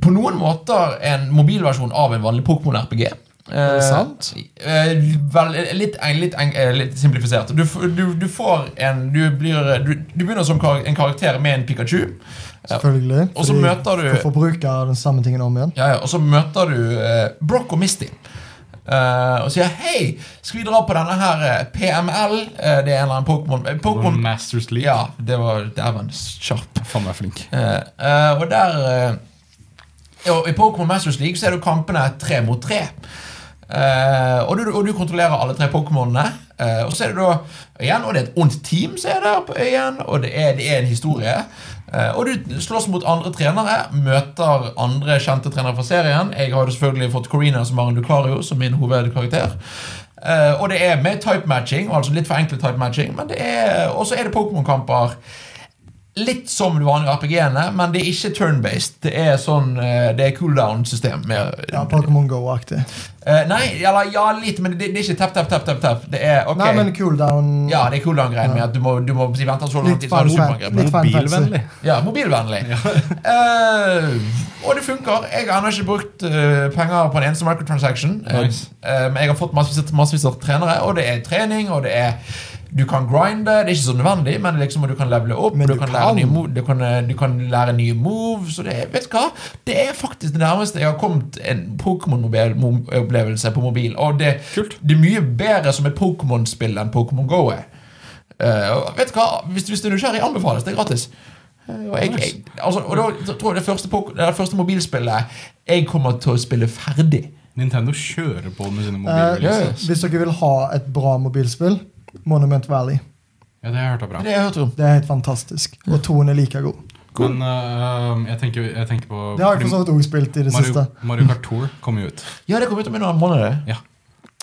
på noen måter en mobilversjon av en vanlig Pokémon-RPG. Er det sant? eh, vel, litt, eng- litt, eng- eh, litt simplifisert. Du, f- du, du får en Du, blir, eh, du, du begynner som kar en karakter med en Pikachu. Ja. Selvfølgelig. Og så fordi møter du- Hvorfor bruke den samme tingen om igjen? Ja, ja, og så møter du eh, Brock og Misty. Eh, og sier 'Hei, skal vi dra på denne her eh, PML?' Eh, det er en eller annen Pokémon eh, Pokémon Pokémon Masters League. Ja, det var Dæven, sharp. Faen meg flink. Eh, eh, og der eh, og I Pokémon Masters League så er det kampene tre mot tre. Eh, og, du, og du kontrollerer alle tre Pokémonene. Eh, og så er det da igjen, og det er et ondt team som er der, på- igjen, og det er, det er en historie. Eh, og du slåss mot andre trenere, møter andre kjente trenere fra serien. Jeg har jo selvfølgelig fått Corina som Maren Lucario som min hovedkarakter. Eh, og det er med type matching, altså litt forenklet type matching, men det er, og så er det Pokémon-kamper. Litt som de vanlige RPG-ene, men det er ikke turn-based. Det er sånn, eh, det er cooldown-system. med- Ja, Pokémon Go-aktig. Eh, nei, eller ja, litt, men det, det er ikke tap, tap, tap, tap, tap. Det er ok. Nei, men cooldown ja, det er cooldown-greien med at du må, du må si, vente så lang Litt tid, så har du fan- superangrepet. Litt Mobilvennlig. Ja, mobilvennlig. [laughs] Eh, og det funker. Jeg har ennå ikke brukt eh, penger på en eneste microtransaction. Eh, Nice. eh, men jeg har fått massevis massevis av trenere, og det er trening, og det er du kan grinde, det er ikke så nødvendig, men liksom, og du kan levele opp. Men Du, du kan kan. lære nye mo- du, kan, eh, du kan lære nye moves. Og det, er- vet du hva? det er faktisk det nærmeste jeg har kommet en Pokémon-opplevelse på mobil. Og det, Kult. det er mye bedre som et Pokémon-spill enn Pokémon Go er. Eh, og vet du hva? Hvis, hvis du er nysgjerrig, anbefales. Det er gratis. Eh, og, jeg, jeg, altså, og da tror jeg det første, pok- det første mobilspillet jeg kommer til å spille ferdig. Nintendo kjører på med sine Eh, mobiler. ja, ja. Hvis dere vil ha et bra mobilspill, Monument Valley. Ja, det har jeg hørt av bra. Det har jeg hørt om. Det er helt fantastisk. Og toen er like god. Men eh, jeg, tenker, jeg tenker på Det har jeg for så vidt òg spilt i det Mario, siste. Mario Kart Tour kom jo ut. Ja, det kom ut om en måned. Ja.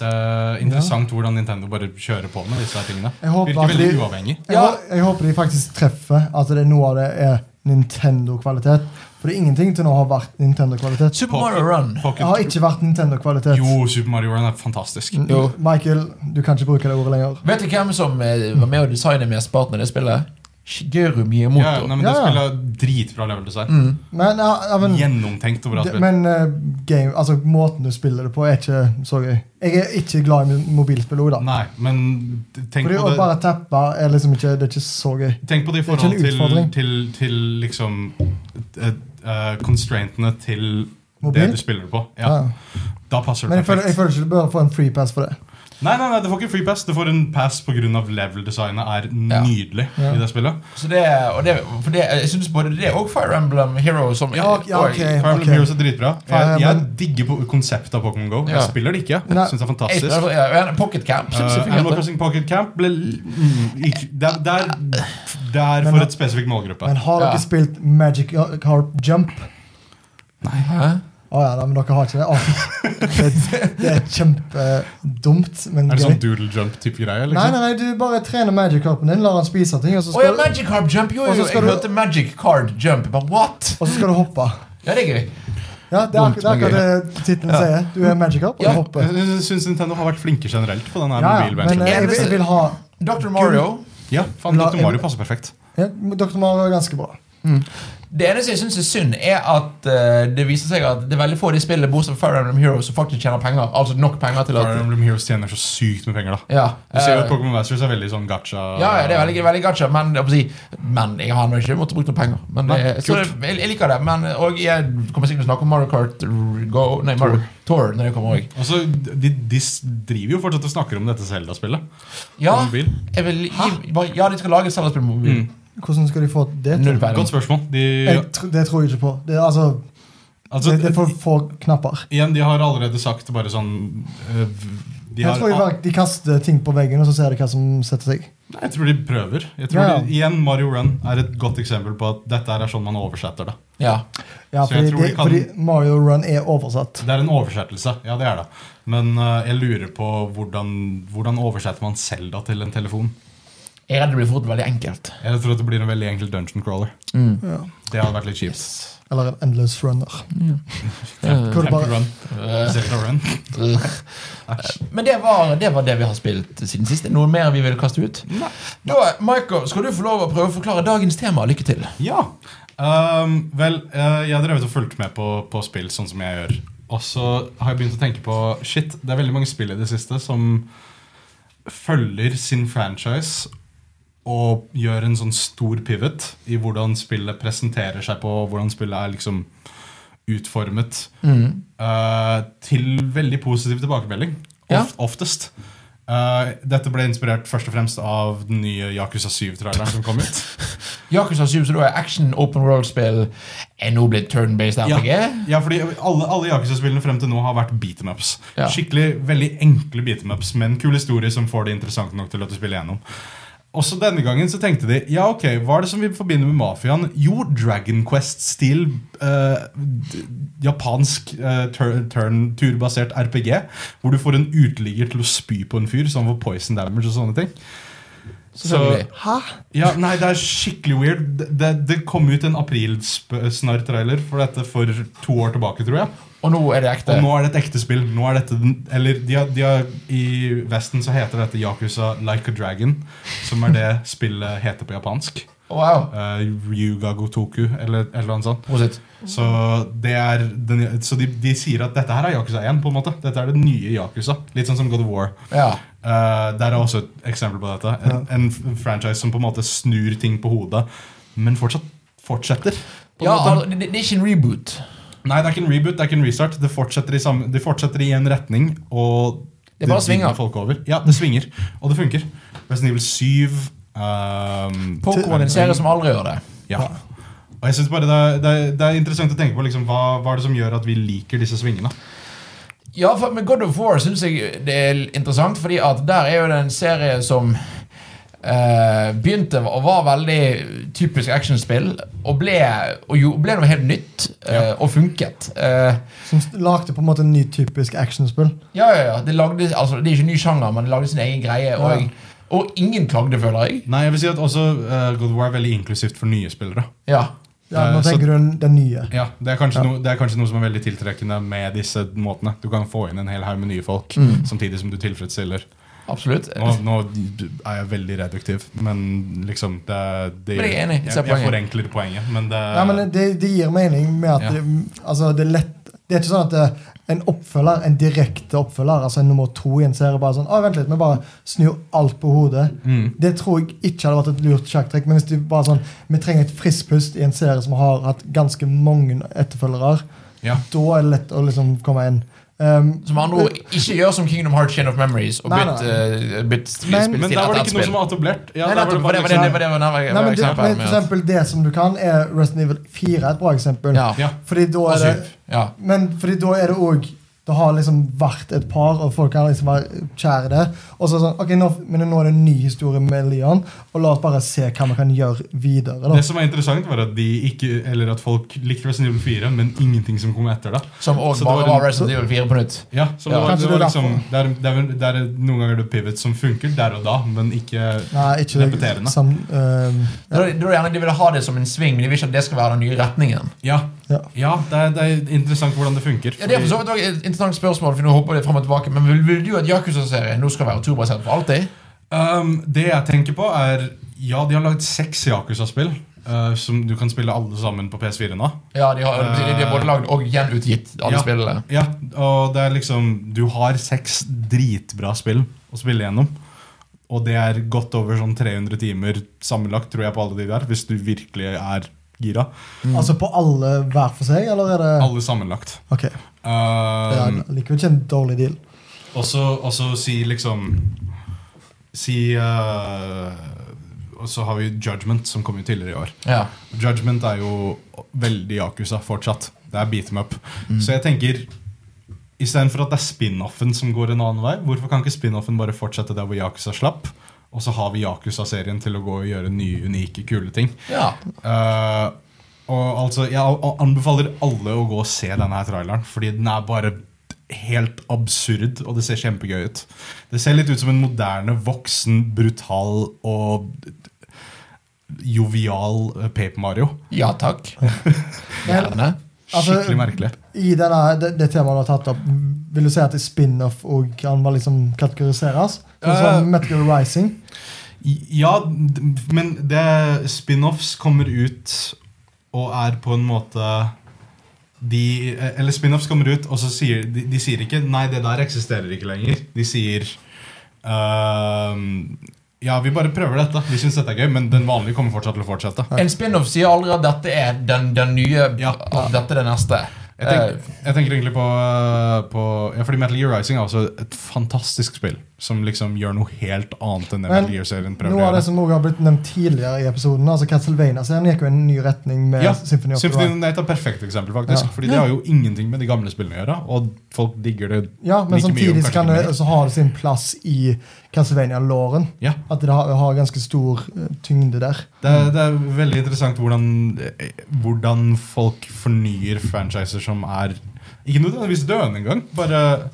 Det er interessant hvordan Nintendo bare kjører på med disse her tingene. Jeg håper Virker at veldig de- uavhengig. Jeg, Ja. hå- jeg håper de faktisk treffer at det er noe av det er Nintendo-kvalitet. For det er ingenting til nå har vært Nintendo-kvalitet. Super Mario Run. Det har Pocket. ikke vært Nintendo-kvalitet. Jo, Super Mario Run er fantastisk. Mm, Jo. Michael, du kan ikke bruke det ordet lenger. Vet du hvem som eh, var med å designe mesteparten av det spillet? Shigeru Ja, Miyamoto. nei, men Det Ja, ja. spiller dritbra level design. Mm. Men, ja, ja, men, Gjennomtenkt og bra det- spill. men eh, game, altså, måten du spiller det på, er ikke så gøy. Jeg er ikke glad i mo- mobilspill òg, da. Nei, men tenk Fordi på å det bare tappe er liksom ikke, det er ikke så gøy. Tenk på det i Det er ikke en forhold til, utfordring. til, til liksom eh, eh, Constraintene til Mobil? det du spiller på. Ja. Ja, Da passer Men det jeg føler, perfekt. jeg føler ikke du bør få en free pass for det. Nei, nei, nei, du får ikke free pass. Du får en pass pga. level-designet er Ja. nydelig Ja. i det spillet. Så det, og det, for det, jeg synes både det og Fire Emblem Hero som Ja, ja, ok. Oi, Fire Emblem ok. Heroes er dritbra. Ja, Jeg, jeg men- digger på konseptet av Pokémon Go. Ja. Jeg spiller det ikke. Nei. Jeg synes det er jeg fantastisk. spiller- ja, Pocket Camp. synes jeg Uh, fungerte. Animal Crossing Pocket Camp ble l- mm, ikke, der, der Det er Men- for et spesifikk målgruppe. Men har dere Ja. spilt Magic Carp Jump? Hæ? Å ja, nei, men dere har ikke det? Åh, det, det er kjempedumt, Er men det gøy. sånn doodle jump-type greie? Nei, Liksom? nei, nei, du bare trener Magic Carpen din, lar han spise ting, og så Å ja, skal, Magic Carp Jump! Jo, Og jo, så jeg skal du- hørte Magic Card Jump. Bare what?! og så skal du hoppe. Ja, det er gøy. Ja, Det er Dumt, akkurat det, er men akkurat det tittelen sier. Du er Magic Carp, og Ja. du hopper. Jeg jeg syns Nintendo har vært flinke generelt på den her Ja, ja, men mobilvennlige. eh, jeg, vil- jeg vil ha Dr. Mario. Ja, faen, La- Dr. Mario passer perfekt. ja, Dr. Mario er ganske bra. Det eneste jeg syns er synd, er at eh, det viser seg at det er veldig få av de spillene bortsett fra Fire Emblem Heroes som faktisk tjener penger. Altså nok penger til Fire at Emblem Heroes tjener så sykt med penger, da. ja, Du ser jo at eh, Pokémon Masters er veldig sånn gacha. ja, ja, det er veldig, veldig gacha, men jeg, holdt på å si, men jeg har ennå ikke måttet bruke noen penger. Men det, Nei, så det, jeg, jeg liker det, men og jeg kommer sikkert til å snakke om Mario Kart R- Go, nei, Mario Tour når det kommer òg. Og så, Altså, de, de s- driver jo fortsatt og snakker om dette Zelda-spillet. Ja, På mobil. Mm. jeg vil, gi- ja, de skal lage et selvspill på mobil. Hvordan skal de få det til? Null peiling. Godt spørsmål. De, Jeg, tr- det tror jeg ikke på. Det, er altså, altså, det, det er for få knapper. igjen, de har allerede sagt bare sånn øh, de Jeg har, tror jeg bare, de kaster ting på veggen, og så ser de hva som setter seg. Nei, jeg tror de prøver. Jeg tror Ja, ja. De, igjen, Mario Run er et godt eksempel på at dette her er sånn man oversetter det. Ja. Ja, Så jeg fordi, tror de det, kan- fordi Mario Run er oversatt. Det er en oversettelse, ja det er det. Men øh, jeg lurer på hvordan, hvordan oversetter man Zelda til en telefon? Jeg er redd det blir fort veldig enkelt. Jeg tror at det blir en veldig enkel dungeon crawler. Ja. Det hadde vært litt kjipt. Eller en endless runner. Hvor du Temple bare, Run. Eh, Zelda Run. Ugh. Men det var, det var det vi har spilt siden sist. Er det Noe mer vi vil kaste ut? Da, Michael, skal du få lov å prøve å forklare dagens tema. Lykke til. Ja. Ehm, vel, eh, jeg har drevet og fulgt med på, på spill, sånn som jeg gjør. Og så har jeg begynt å tenke på Shit, det er veldig mange spill i det siste som følger sin franchise og gjør en sånn stor pivot i hvordan spillet presenterer seg på, hvordan spillet er liksom utformet. Eh, til veldig positiv tilbakemelding. Of, Ja. Oftest. Eh, dette ble inspirert først og fremst av den nye Yakuza 7-traileren som kom ut. Yakuza 7, så da er action open world-spill er nå blitt turn-based RPG? Ja, ja fordi alle, alle Yakuza-spillene frem til nå har vært beat 'em ups. Ja. Skikkelig veldig enkle beat 'em ups med en kul historie som får det interessant nok til at du spiller gjennom. Også denne gangen så tenkte de ja, ok, hva er det som vi forbinder med mafiaen? Jo, Dragon Quest-stil eh, d- japansk eh, tur- turn, turbasert RPG, hvor du får en uteligger til å spy på en fyr, så han får poison damage og sånne ting. Selvfølgelig. Hæ? Ja, nei, det er skikkelig weird. Det, det, det kom ut en aprilsnarr-trailer for dette for to år tilbake, tror jeg. Og nå er det ekte? Og nå er det et ekte spill. Nå er dette den, eller de har, de har, I Vesten så heter dette Yakuza Like a Dragon, som er det spillet heter på japansk. Wow. Eh, Ryuga Gotoku, eller et eller annet sånt. Prosit. Så, det er den, så de, de sier at dette her er Yakuza 1, på en måte. Dette er det nye Yakuza. Litt sånn som God of War. Ja. Eh, der er også et eksempel på dette. En, en f- franchise som på en måte snur ting på hodet, men fortsatt fortsetter. på en ja måte. altså, det, det er ikke en reboot. Nei, det er ikke en reboot, det er ikke en restart. Det fortsetter i, samme, det fortsetter i en retning, og Det bare svinger. vinner folk over. Ja, det svinger, og det funker. Resident Evil 7 ehm, Pokémon er en serie som aldri gjør det. Ja. Og jeg synes bare det er, det, er, det er interessant å tenke på liksom, hva, hva er det som gjør at vi liker disse svingene. Ja, for med God of War syns jeg det er interessant, fordi at der er jo det en serie som eh, begynte og var veldig typisk actionspill, og ble, og jo, ble noe helt nytt, eh, og funket. Eh, Som st- lagde på en måte en ny typisk actionspill. ja, ja, ja. Det, lagde, altså, det er ikke en ny sjanger, men det lagde sin egen greie, og, og ingen klagde, føler jeg. Nei, jeg vil si at også eh, God of War er veldig inklusivt for nye spillere. Ja. Ja, nå Eh, så- tenker du den- den nye. Ja, det er, kanskje Ja. Noe, det er kanskje noe som er veldig tiltrekkende med disse måtene. Du kan få inn en hel haug med nye folk, Mm. samtidig som du tilfredsstiller Absolutt. Nå, nå er jeg veldig reduktiv, men liksom det, det, Men jeg er enig, jeg ser jeg, jeg poenget. forenkler poenget, men det Ja, men det, det gir mening med at Ja. det, altså, det er lett Det er ikke sånn at det, en oppfølger, en direkte oppfølger, altså en nummer to i en serie, bare sånn Å, vent litt, vi bare snur alt på hodet. Mm. Det tror jeg ikke hadde vært et lurt sjakktrekk. Men hvis du bare sånn Vi trenger et friskt pust i en serie som har hatt ganske mange etterfølgere. ja. Da er det lett å liksom komme inn. Um, Som med andre ord, ikke gjør som Kingdom Hearts Chain of Memories og Nei, bytt, eh, bytt spill Men- spill til et Men der var det annet ikke noe spill. som var etablert. Ja, Nei, der var nettopp, bare for det var det- liksom- det var det- det var- det Nei, var men det, eksempelet men for med at- eksempel, det som du kan, er Resident Evil 4 er et bra eksempel. Ja. Ja. Fordi da Og er det syv. Ja. Men fordi da er det òg Det har liksom vært et par, og folk har liksom vært kjære det. Og så sånn, ok, nå, men nå er det en ny historie med Leon, og la oss bare se hva vi kan gjøre videre. da. Det som var interessant, var at de ikke, eller at folk likte Resident Evil 4, men ingenting som kom etter. da. Som òg Så det bare var var en- Resident Evil 4 på nytt. Ja, så det Ja. var, det Kanskje var det er liksom, det er, det, er, vel- det er noen ganger det pivot som funker der og da, men ikke Nei, ikke ehm, Repeterende. Sam, øhm, Da er det- da er det gjerne De vil ha det som en sving, men de vil ikke at det skal være den nye retningen. Ja, Ja. ja det, er, det er interessant hvordan det funker. Ja, Det er for så vidt også et interessant spørsmål, for nå hopper det frem og tilbake, men vil, vil du at Yakuza-serien nå skal være turbasert for alltid? Um, det jeg tenker på er Ja, de har lagd seks Yakuza-spill. uh, som du kan spille alle sammen på PS4 nå. Ja, de har, de, de har både lagd og gjenutgitt alle Eh, Ja. spillene. Ja, og det er liksom Du har seks dritbra spill å spille gjennom. Og det er godt over sånn 300 timer sammenlagt, tror jeg, på alle de der. Hvis du virkelig er gira. Altså på alle hver for seg, eller er Mm. det Alle sammenlagt. Ok, det er Um, likevel ikke en dårlig deal. Og så og så si liksom Si eh, Og så har vi Judgment, som kom jo tidligere i år. Ja. Judgment er jo veldig Yakuza fortsatt. Det er beat them up. Så jeg tenker Istedenfor at det er spin-offen som går en annen vei, hvorfor kan ikke spin-offen bare fortsette der hvor Yakuza slapp? Og så har vi Yakuza-serien til å gå og gjøre nye, unike, kule ting. ja. Eh, og altså, Jeg a- anbefaler alle å gå og se denne her traileren, fordi den er bare helt absurd, og det ser kjempegøy ut. Det ser litt ut som en moderne, voksen, brutal og jovial eh, Paper Mario. Ja [laughs] takk. Men, Gjerne. Altså- Skikkelig merkelig. I denne, det, det temaet du har tatt opp, vil du si at det er spin-off og kan bare liksom kategoriseres? Sånn Eh. som Metal Gear Rising? Ja, d- men det spin-offs kommer ut og er på en måte de, Eller spin-offs kommer ut, og så sier de, de sier ikke 'nei, det der eksisterer ikke lenger'. De sier ehm, 'ja, vi bare prøver dette, vi syns dette er gøy', men den vanlige kommer fortsatt til å fortsette. En spin-off sier aldri at dette er den, den nye Ja. at Dette er det neste. Eh, Jeg tenker, jeg tenker egentlig på, på ja, fordi Metal Gear Rising er også et fantastisk spill som liksom gjør noe helt annet enn det Men Metal Gear-serien prøver å Noe av det gjøre. som også har blitt nevnt tidligere i episoden, altså Castlevania-serien gikk jo i en ny retning med Ja, Symphony of the Symphony Night. of the Night er et perfekt eksempel, faktisk. Eh, Ja. Fordi det har jo ingenting med de gamle spillene å gjøre, og folk digger det Ja, men like mye. samtidig og så kanskje kan ikke det, mer. så har det sin plass i Castlevania-låren. Ja, At det har, har ganske stor eh, tyngde der. det er, det er veldig interessant hvordan, eh, hvordan folk fornyer franchiser som er ikke nødvendigvis døende engang. Bare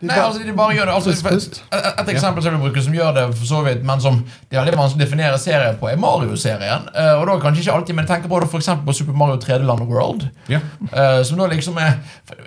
De Nei, bare- altså de bare gjør det altså, Frisk pust. Et, et eksempel som jeg vil bruke som gjør det for så vidt Men som det er veldig vanskelig å definere serier på, er Mario-serien. Eh, og da kanskje ikke alltid, men tenk på det for eksempel på Super Mario 3D Land World. ja. eh, som da liksom er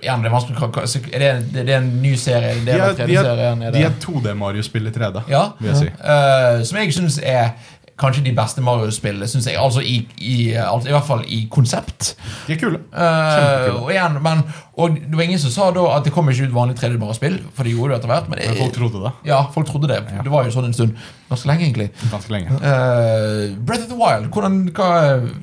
Igjen, det er vanskelig å- Er det, det, det er en ny serie? Det De er, er, den de tredje er, serien, er de det, er 2D-Mario-spill i 3D, Ja. vil jeg si. Eh, som jeg syns er kanskje de beste Mario-spillene, syns jeg. Altså i, i, altså, i hvert fall i konsept. De er kule. Eh, Kjempekule. og igjen, men Og det var ingen som sa da at det kom ikke ut vanlig 3D-barrespill, for det gjorde det etter hvert. Men, Men folk det, trodde det ja, folk trodde det. Det var jo sånn en stund. Ganske lenge, egentlig. ganske lenge. Eh, Breath of the Wild, hvordan hva,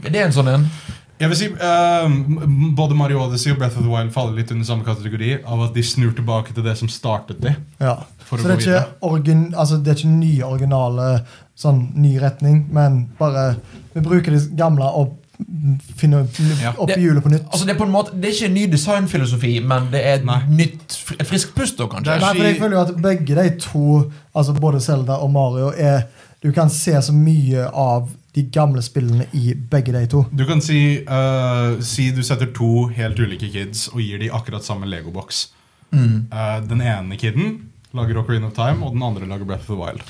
Er det en sånn en? Jeg vil si eh, m- Både Mario Odyssey og Breath of the Wild faller litt under samme kategori av at de snur tilbake til det som startet de. Ja. For Så å gå det er, ikke origin, altså det er ikke nye originale sånn ny retning, men bare vi bruker de gamle og finner Ja. opp Det- i hjulet på nytt. Altså Det er på en måte Det er ikke en ny designfilosofi, men det er et Nei. nytt, fri- et friskt pust, da, kanskje. Det Nei, for jeg føler jo at begge de to, altså både Zelda og Mario, er Du kan se så mye av de gamle spillene i begge de to. Du kan si, eh, si du setter to helt ulike kids og gir de akkurat samme legoboks. Mm. Eh, den ene kiden lager Ocarina of Time, og den andre lager Breath of the Wild.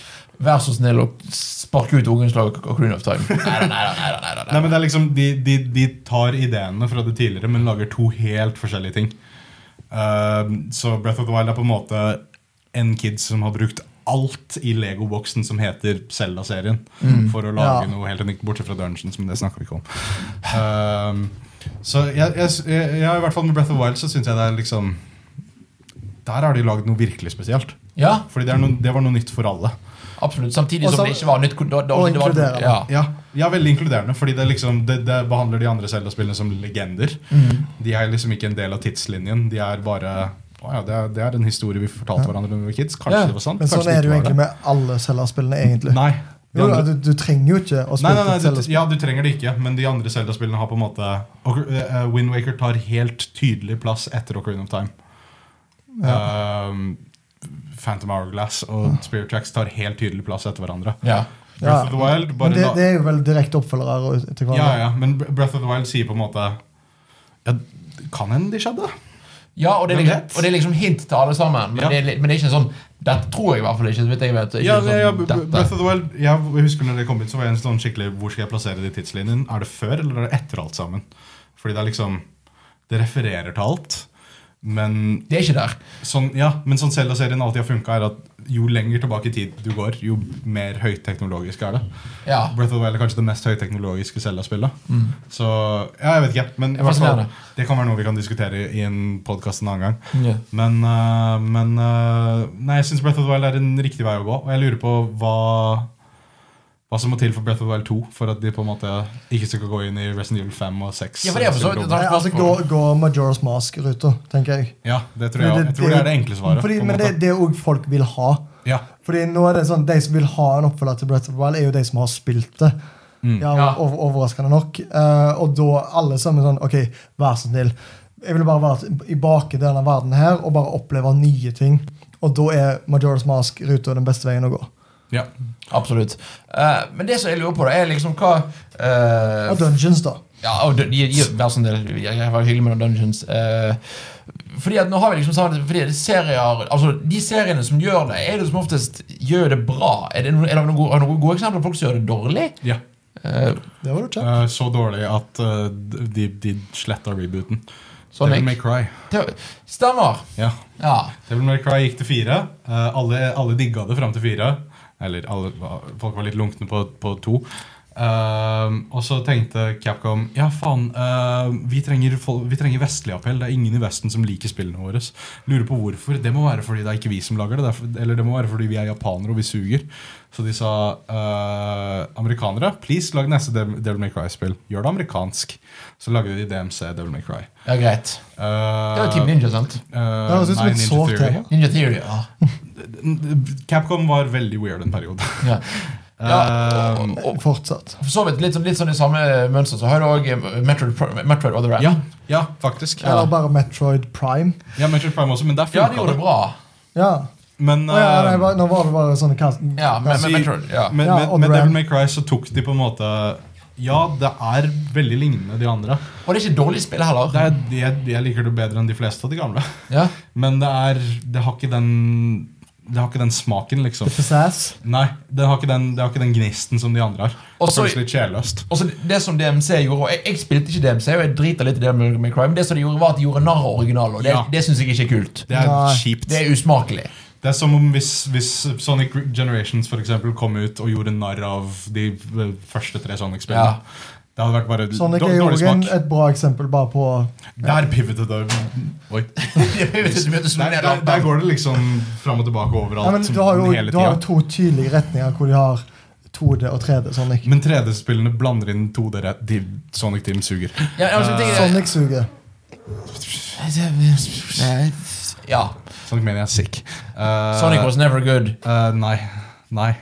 Vær så snill å sparke ut ungens lag og Croon of Time. Neida, neida, neida, neida, Nei, neida. men det er liksom, de, de, de tar ideene fra det tidligere, men lager to helt forskjellige ting. Eh, så Breath of the Wild er på en måte en kid som har brukt alt i legoboksen som heter Zelda-serien, for å lage Ja. noe helt unikt, bortsett fra Dungeon, som det snakker vi ikke om. Eh, så jeg, jeg, jeg, jeg, i hvert fall med Breath of the Wild så syns jeg det er liksom Der har de lagd noe virkelig spesielt. Ja, Fordi det, er noe, det var noe nytt for alle. absolutt. Samtidig Og som så- det ikke var nytt. Da, da, og det var, inkluderende. ja. Ja, ja veldig inkluderende, fordi det, liksom, det, det behandler de andre Zelda-spillene som legender. Mm. De er liksom ikke en del av tidslinjen. De er bare å ja, det, er, det er en historie vi fortalte hverandre da vi var kids. Kanskje Ja, det var sant? Men sånn kanskje er det jo ikke egentlig med alle Zelda-spillene, egentlig. Nei. de Jo, da, andre- du, du trenger jo ikke å Nei, spille nei, nei et du, Zelda-spill. ja, du trenger det ikke, men de andre Zelda-spillene har på en måte Ocar- eh, eh, Wind Waker tar helt tydelig plass etter Ocarina of Time. Um, Phantom Hourglass og Spirit Tracks tar helt tydelig plass etter hverandre. Ja. Breath of the Wild Men bare det, la- det er jo vel direkte oppfølgere til hverandre. Ja, ja, men Breath of the Wild sier på en måte ja, Kan hende de skjedde? ja og, det er Hvem liksom, vet? og det er liksom hint til alle sammen, men, Ja. det, er, li- men det er ikke sånn Dette tror jeg i hvert fall ikke. så vidt jeg vet. Det er Ja, ikke ja, ja, sånn, Breath dette. of the Wild Jeg husker når det kom ut, så var jeg en sånn skikkelig Hvor skal jeg plassere det i tidslinjen? Er det før, eller er det etter alt sammen? Fordi det er liksom Det refererer til alt. Men Det er ikke der. sånn, ja, men sånn selv serien alltid har funka, er at jo lenger tilbake i tid du går, jo mer høyteknologisk er det. Ja. Breath of the Wild er kanskje det mest høyteknologiske Zelda-spillet. Mm. Så ja, jeg vet ikke, men Det i er hvert fall, fascinerende. det kan være noe vi kan diskutere i en podkast en annen gang. Ja. Men, øh, men øh, Nei, jeg syns Breath of the Wild er en riktig vei å gå. Og jeg lurer på hva Hva som må til for Breath of the Wild 2 for at de på en måte ikke skal gå inn i Resident Evil 5 og 6. Ja, for det er for så vidt- Nei, altså gå, gå Majora's Mask-ruta, tenker jeg. Ja, det tror jeg, jeg tror det er det enkle svaret. Fordi, på en men det, måte. det er jo folk vil ha. ja. Fordi nå er det sånn, De som vil ha en oppfølger til Breath of the Wild, er jo de som har spilt det. Mm. Ja, Ja. over, Overraskende nok. Eh, og da alle sammen sånn Ok, vær så snill. Jeg vil bare være t- i bak i denne verden her og bare oppleve nye ting. Og da er Majora's Mask-ruta den beste veien å gå. ja. Absolutt. Eh, men det som jeg lurer på, da, er liksom hva eh, Og Dungeons, da. Ja, og dun- gi- gi- vær så snill, jeg jeg var hyggelig med noen Dungeons. eh, fordi at nå har vi liksom sammen, fordi serier, altså De seriene som gjør det, er det som oftest gjør det bra. Er det, no, er det noen, gode, har du noen gode eksempler på folk som gjør det dårlig? ja. Eh, Det var du kjent. Eh, så dårlig at eh, de, de sletta rebooten. sånn Devil May jeg, Cry. Te- stemmer. Ja. Ja. Devil May Cry gikk til fire. Eh, alle, alle digga det fram til fire. Eller alle, folk var litt lunkne på, på to. Ehm, og så tenkte Capcom Ja, faen, eh, vi, trenger fol- vi trenger vestlig appell. Det er ingen i Vesten som liker spillene våre. Lurer på hvorfor. Det må være fordi det er ikke vi som lager det. det er for- eller det må være fordi vi er japanere og vi suger. Så de sa eh, amerikanere, please lag neste Dev- Devil May Cry-spill. Gjør det amerikansk. Så lagde de DMC Devil May Cry. ja, greit. Det var Team Ninja, sant? Uh, Det høres ut som et sårt tema. Ninja Theory. Ja. Capcom var veldig weird en periode. Ehm, ja. [laughs] ja og, og, Fortsatt. for så vidt litt, sånn- litt sånn i samme mønster. Så har du òg Metroid, Pro- Metroid Other Rap. ja, ja, faktisk. Ja. Eller bare Metroid Prime. Metroid Prime også, men der ja, de funka gjorde det det. bra. Ja. Men, Å ja, nei, eh, bare, nå var det bare sånne kast... Ja, men, men si- Metroid, ja. med, Ja, med, og med Ram. Devil May Cry så tok de på en måte Ja, det er veldig lignende de andre. Og det er ikke dårlig spill heller. Det er, jeg, jeg liker det bedre enn de fleste av de gamle. [laughs] Ja. Men det er Det har ikke den Det har ikke den smaken, liksom. Pizzazz. Nei, det har ikke den, det har ikke den gnisten som de andre har. Og Det så- føles litt sjelløst. Og så Det som DMC gjorde og Jeg, jeg spilte ikke DMC, og jeg driter litt i det med, med Crime. Men det som de gjorde, var at de gjorde narr av originalen, og det, Ja. det syns jeg ikke er kult. Det er Nei. kjipt. Det er usmakelig. [laughs] Det er som om hvis, hvis Sonic Generations for eksempel, kom ut og gjorde narr av de eh, første tre Sonic-spillene. Ja. Det hadde vært bare Sonic dår- er jo dårlig også en- smak. et bra eksempel bare på Der pivotet [laughs] det. Oi. Jeg vet ikke, du møter Nei, solen i der, lampen. der går det liksom fram og tilbake Nei, men overalt. du har, jo, hele du har jo tida. to tydelige retninger hvor de har 2D og 3D Sonic. Men 3D-spillene blander inn 2D-rett. De- Sonic Team suger. Ja, altså, det, Sonic suger. ja. Sonic mener jeg er sick. Eh, Sonic was never good. eh, Nei. Nei.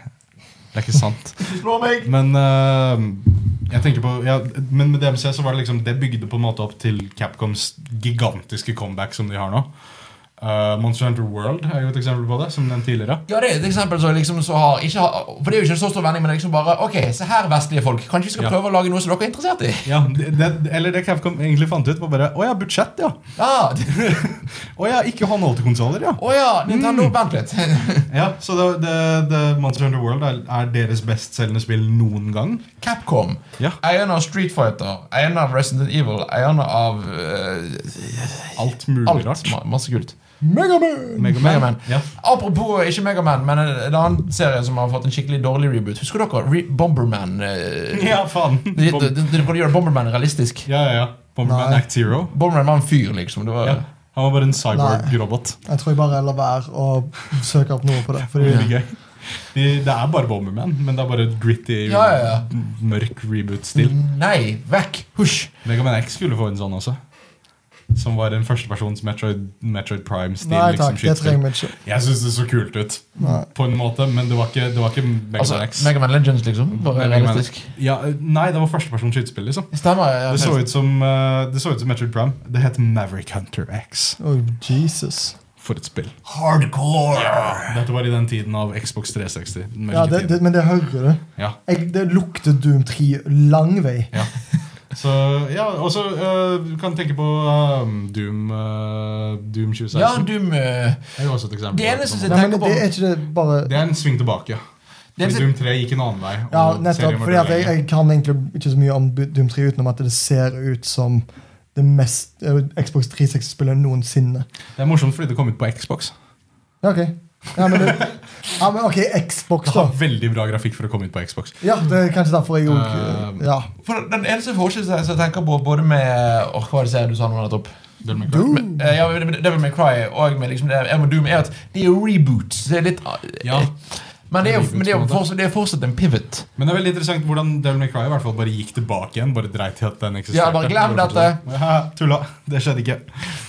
Det er ikke sant. Slå meg! Men eh, jeg tenker på ja, Men med DMC så var det liksom Det bygde på en måte opp til Capcoms gigantiske comeback som de har nå. Eh, Monster Hunter World er jo et eksempel på det, som nevnt tidligere. Ja, det er et eksempel som liksom så har, ikke har For det er jo ikke en så stor vending, men det er liksom bare Ok, se her, vestlige folk. Kanskje vi skal Ja. prøve å lage noe som dere er interessert i? Ja, det, det, Eller det Capcom egentlig fant ut, var bare Å ja, budsjett, ja. Ja, Å ja, ikke håndholdte konsoller, ja. Å ja, Nintendo, Mm. vent litt. [laughs] ja. Så det, det, det Monster Hunter World er, er deres bestselgende spill noen gang. Capcom. Ja. Eierne av Street Fighter, eierne av Resident Evil, eierne av eh, Alt mulig alt. rart. [laughs] Ma masse kult. Megaman! Mega Man. Mega Man. Ja. Apropos eh, ikke Megaman, men en en annen serie som har fått en skikkelig dårlig reboot. Husker dere Re Bomberman? eh, ja, faen. De, Bom- de, de, de prøvde å gjøre Bomberman realistisk. Ja, ja, ja. Bomberman Nei. Act Zero. Bomberman var en fyr, liksom. Det var, Ja. Han var bare en cyborg-robot. Jeg tror jeg bare lar være å søke opp noe på det. Fordi Det blir gøy. De, det er bare Bomberman, men det er bare gritty, Ja, ja, ja. mørk reboot-stil. Mm. Mm, Nei, vekk! Husj! Megaman X skulle få en sånn også. Som var en førstepersons Metroid, Metroid Prime-stil. liksom, Nei takk, det skytespill. trenger vi ikke. Jeg syns det så kult ut, Nei. på en måte, men det var ikke, det var ikke Megaman Altså, X. Megaman Legends, liksom. Bare Mm, Mega Man- realistisk. Ja, nei, det var førstepersons skytespill, liksom. Stemmer. Ja, Det så, ut som, eh, det så ut som Metroid Prime. Det het Maverick Hunter X. Oh, Jesus. For et spill. Hardcore! Dette var i den tiden av Xbox 360. den Ja, det, mørke det, tiden. men det hører du. Ja. Jeg, det lukter Doom 3 lang vei. Ja. Så ja, og så eh, du kan tenke på eh, Doom eh, Doom 2016. Ja, Doom eh, er jo også et eksempel. Det på eneste sånn. som- Nei, men tenker på- det er ikke det bare det er en sving tilbake. Det Fordi eneste- Doom 3 gikk en annen vei. Ja, og serien nettopp. var Fordi at jeg, død lenge. jeg kan egentlig ikke så mye om Bu- Doom 3 utenom at det ser ut som det mest eh, Xbox 360-spillet noensinne. Det er morsomt fordi det kom ut på Xbox. Ja, ok. Ja, men, det, ja, men ok, Xbox, Det da. har veldig bra grafikk for å komme ut på Xbox. Ja, det er kanskje derfor jeg òg Eh, Ja. For Den eneste forskjellen som jeg- som jeg tenker på, både med Åh, hva var det jeg sa du sa nå nettopp? Devil May Cry. Doom. Eh, Ja, men Devil May Cry og med liksom det, jeg må Doom, er at det er jo reboots. Det er litt eh, Ja. Men det er, jo, men det er, jo Reboots, på en måte. fortsatt, det er fortsatt en pivot. Men det er veldig interessant hvordan Devil May Cry i hvert fall bare gikk tilbake igjen. Bare dreit i at den eksisterte. Ja, bare glem dette. [laughs] Haha, Tulla. Det skjedde ikke.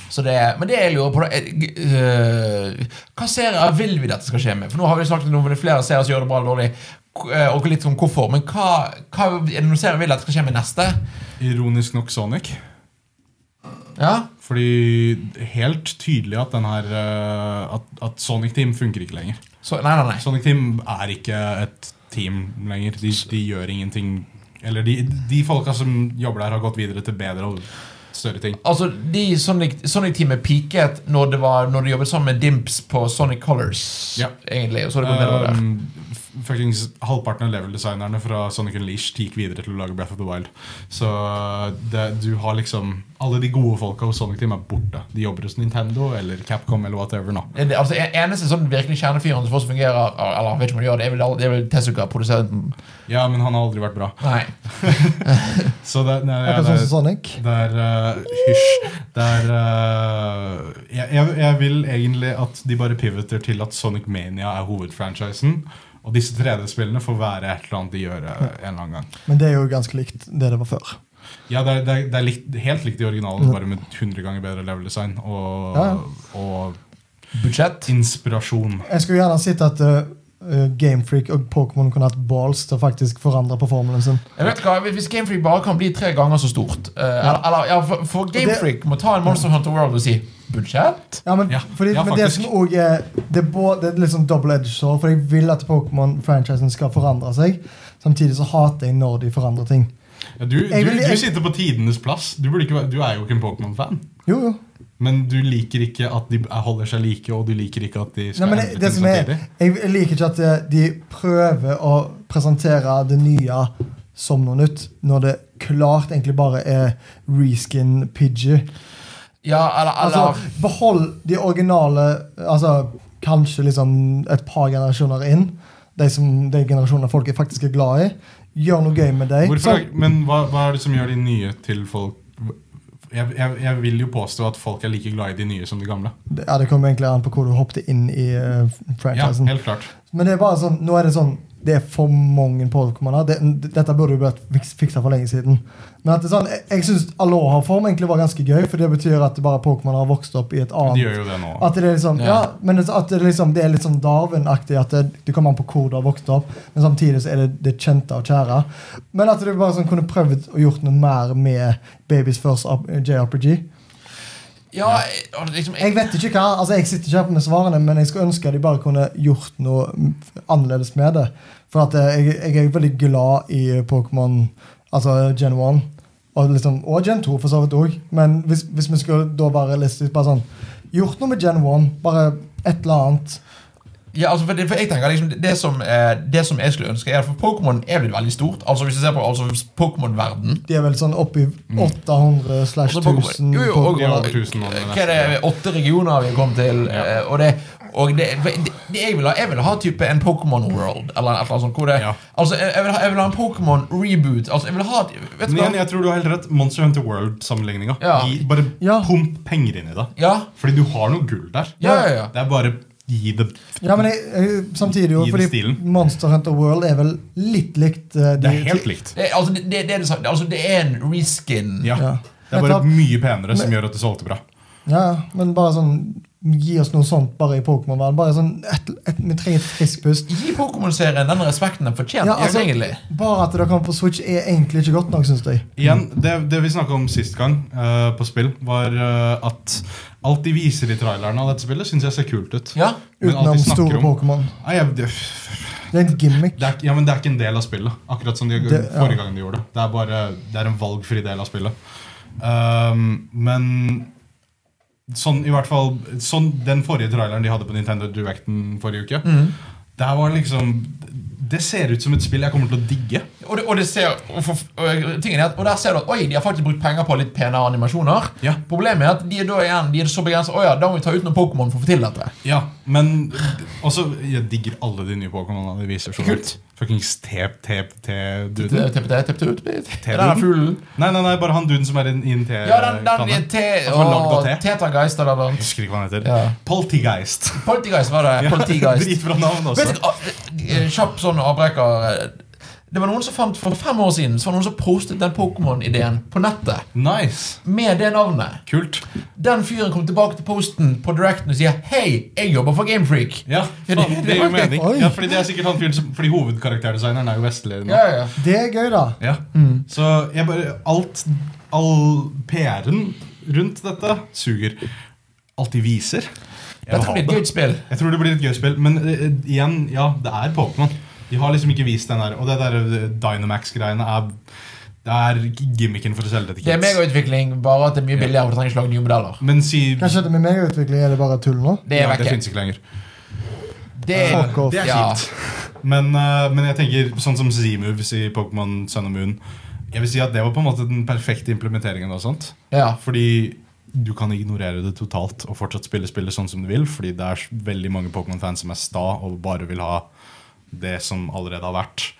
Så det, er- men det jeg lurer på, da er, eh, Hva serier vil vi dette skal skje med? For nå har vi snakket om flere serier som gjør det bra eller dårlig. k- eh, Og litt om hvorfor. Men hva, hva er det noen serier vil at skal skje med neste? Ironisk nok Sonic. Ja? Fordi helt tydelig at den her eh, at, at Sonic Team funker ikke lenger. Så, nei, nei, nei. Sonic Team er ikke et team lenger. De, de gjør ingenting Eller de, de folka som jobber der, har gått videre til bedre og større ting. Altså, de Sonic- Sonic-teamet peaket når, det var, når de jobbet sammen med Dimps på Sonic Colors. Ja. Egentlig, og så har det gått nedover der. Um, f- fuckings Halvparten av level-designerne fra Sonic Unleashed gikk videre til å lage Breath of the Wild. Så eh, det, du har liksom Alle de gode folka hos Sonic Team er borte. De jobber hos Nintendo eller Capcom eller whatever nå. Det, altså, en- eneste sånn virkelig kjernefyren som fortsatt fungerer, eller jeg vet ikke om det gjør det, er vel, all- det er vel Tezuka, produsenten. Ja, men han har aldri vært bra. Nei. Så det, nei, ja, Akkurat det, sånn som Sonic. det er eh, Hysj. Det er eh, jeg, jeg, jeg vil egentlig at de bare pivoter til at Sonic Mania er hovedfranchisen. Og disse 3D-spillene får være et eller annet de gjør eh, en eller annen gang. Men det er jo ganske likt det det var før. Ja, det er, det er, det er likt, helt likt i originalen, bare med 100 ganger bedre level design og, Ja, ja. og Budsjett. inspirasjon. Jeg skulle gjerne sett at eh, Gamefreak og Pokémon kunne hatt balls til å faktisk forandre på formelen sin. Jeg vet hva, Hvis Gamefreak bare kan bli tre ganger så stort eh, eller, eller, ja, For, for Gamefreak må ta en Monster Hunter World og si budsjett? Ja, men, Ja, fordi, ja, men det faktisk. som også er Det er, både, det er liksom double edge så, For jeg vil at Pokémon-franchisen skal forandre seg. Samtidig så hater jeg når de forandrer ting. Ja, du, Jeg vil- du, du jeg- sitter på tidenes plass. Du, burde ikke, være- du er jo ikke en Pokémon-fan. Jo, jo. Men du liker ikke at de er- holder seg like, og du liker ikke at de Nei, skal men det, endre det ting som er, samtidig. jeg jeg liker ikke at eh, de prøver å presentere det nye som noe nytt, når det klart egentlig bare er reskin Pidgey. Ja, eller, eller Altså, behold de originale altså, Kanskje liksom et par generasjoner inn. De, som, de generasjonene folk er faktisk er glad i. Gjør noe gøy med dem. Hvorfor, er- men hva, hva er det som gjør de nye til folk jeg, jeg, jeg vil jo påstå at folk er like glad i de nye som de gamle. Ja, Det kommer egentlig an på hvor du hoppet inn i eh, Ja, franchisen. helt klart. Men det er bare sånn, nå er det sånn det er for mange Pokémoner. Det, dette burde jo blitt fiks- fiksa for lenge siden. Men at det er sånn, jeg, jeg syns Aloha-form egentlig var ganske gøy, for det betyr at bare Pokémon har vokst opp i et De gjør annet jo det nå. at det er liksom, ja. Ja. men det, at det, er liksom, det er litt sånn Darwin-aktig, at det, det kommer an på hvor du har vokst opp, men samtidig så er det det kjente og kjære. Men at du bare sånn kunne prøvd å gjort noe mer med Babies First up- JRPG. Ja, og liksom Jeg vet ikke hva, altså jeg sitter ikke her med svarene, men jeg skulle ønske at de bare kunne gjort noe mm, annerledes med det. For at eh, jeg, jeg er veldig glad i eh, Pokémon, altså Gen 1, og, liksom, og Gen 2 for så vidt òg. Men hvis, hvis vi skulle da bare liste ut bare sånn Gjort noe med Gen 1, bare et eller annet. Ja, altså, for, det, for jeg tenker liksom det- Det som, eh, det som jeg skulle ønske er, For Pokémon er blitt veldig stort. Altså Hvis du ser på altså, Pokémon-verden De er vel sånn oppi Mm. 800 slash Altså, Pokémon- 1000 jo, jo, og- De har og- over 1000 nå, det Eh, Hva er det, åtte regioner vi kom til? Ja. eh, Og det, og det, det, det jeg, vil ha, jeg vil ha type en Pokémon World. Eller et eller annet sånt. Hvor det, Ja. altså, jeg, jeg, vil ha, jeg vil ha en Pokémon-reboot. Altså, jeg vil ha Vet du Men igjen, hva? jeg tror du har helt rett. Monster Hunter World-sammenligninga. Ja. Bare Ja. pump penger inn i det. Ja, Fordi du har noe gull der. ja, ja, ja. Det er bare gi det Ja, men jeg, jeg, samtidig jo, I den fordi stilen. Monster Hunter World er vel litt likt eh, Det de- er helt likt. Det, altså, det, det, det, er det samme. altså, det er en reskin. Ja. Ja. Det er Men bare ta- mye penere som gjør at det solgte bra. Ja, men bare sånn Gi oss noe sånt bare i Pokémon-verden. Bare sånn, et, et, Vi trenger et friskt pust. Gi Pokémon-serien den respekten den fortjener. Ja, altså- egentlig. Bare at det kan på Switch er egentlig ikke godt nok, syns jeg. Igjen, det, det vi snakka om sist gang eh, på spill, var eh, at alt de viser i traileren av dette spillet, syns jeg ser kult ut. Ja. Men alt de Utenom snakker store om- Pokémon. Nei, jeg, det, Det er en gimmick. det er, ikke- ja, men det er ikke en del av spillet. Akkurat som de, Det- ja. forrige gang de gjorde det. Det er, bare, det er en valgfri del av spillet. Ehm, men sånn, i hvert fall, sånn, den forrige traileren de hadde på Nintendo Directen forrige uke, der var liksom Det ser ut som et spill jeg kommer til å digge. Og, det, og, det ser, og, for, og, tingen er at, og der ser du at Oi, de har faktisk brukt penger på litt penere animasjoner. Ja. Problemet er at de er da igjen De er så begrenset Å ja, da må vi ta ut noen Pokémon for å få til dette. Ja, men også, jeg digger alle de nye Pokémonene de viser. så langt. Fuckings T-T-T-duden. Tepp det, tepp det ut litt. Te-duden? Den der fuglen. Nei, nei, nei, bare han duden som er i en Ja, den, den T-kanne. i te... Han var lagd av Og te. Tetrageist eller noe. Jeg husker ikke hva han heter. Ja. Poltergeist. Poltergeist var det. [laughs] Poltergeist. Dritbra navn Vet også. du, ah, eh, Kjapp sånn avbreker eh, Det var noen som fant For fem år siden Så var det noen som postet den Pokémon-ideen på nettet Nice. med det navnet. Kult. Den fyren kom tilbake til posten på Directen og sier Hei, jeg jobber for Gamefreak. Ja, Ja, faen, det- det gir jo mening. Oi. Ja, fordi det er sikkert han fyren som Fordi hovedkarakterdesigneren er jo vestlig nå. Ja, Mm. ja. Det er gøy, da. Ja. Så jeg bare Alt All PR-en rundt dette suger. Alt de viser. Jeg vil Dette ha blir et det. gøy spill. Jeg tror det blir et gøy spill, men eh, igjen, ja, det er Pokémon. De har liksom ikke vist den der, og det der eh, Dynamax-greiene er Det er gimmicken for å selge det til Det er kids. megautvikling, bare at det er mye billigere. Og du trenger ikke lage nye modeller. Men si Kanskje det med megautvikling er det bare tull nå? Det er ja, det vekke. finnes ikke lenger. Det er Fuck off. Det er Ja. kjipt. Men, eh, men jeg tenker sånn som Z-moves i Pokémon Sun og Moon. Jeg vil si at Det var på en måte den perfekte implementeringen. av sånt Ja. Fordi du kan ignorere det totalt og fortsatt spille spillet sånn som du vil. Fordi det er veldig mange Pokémon-fans som er sta og bare vil ha det som allerede har vært.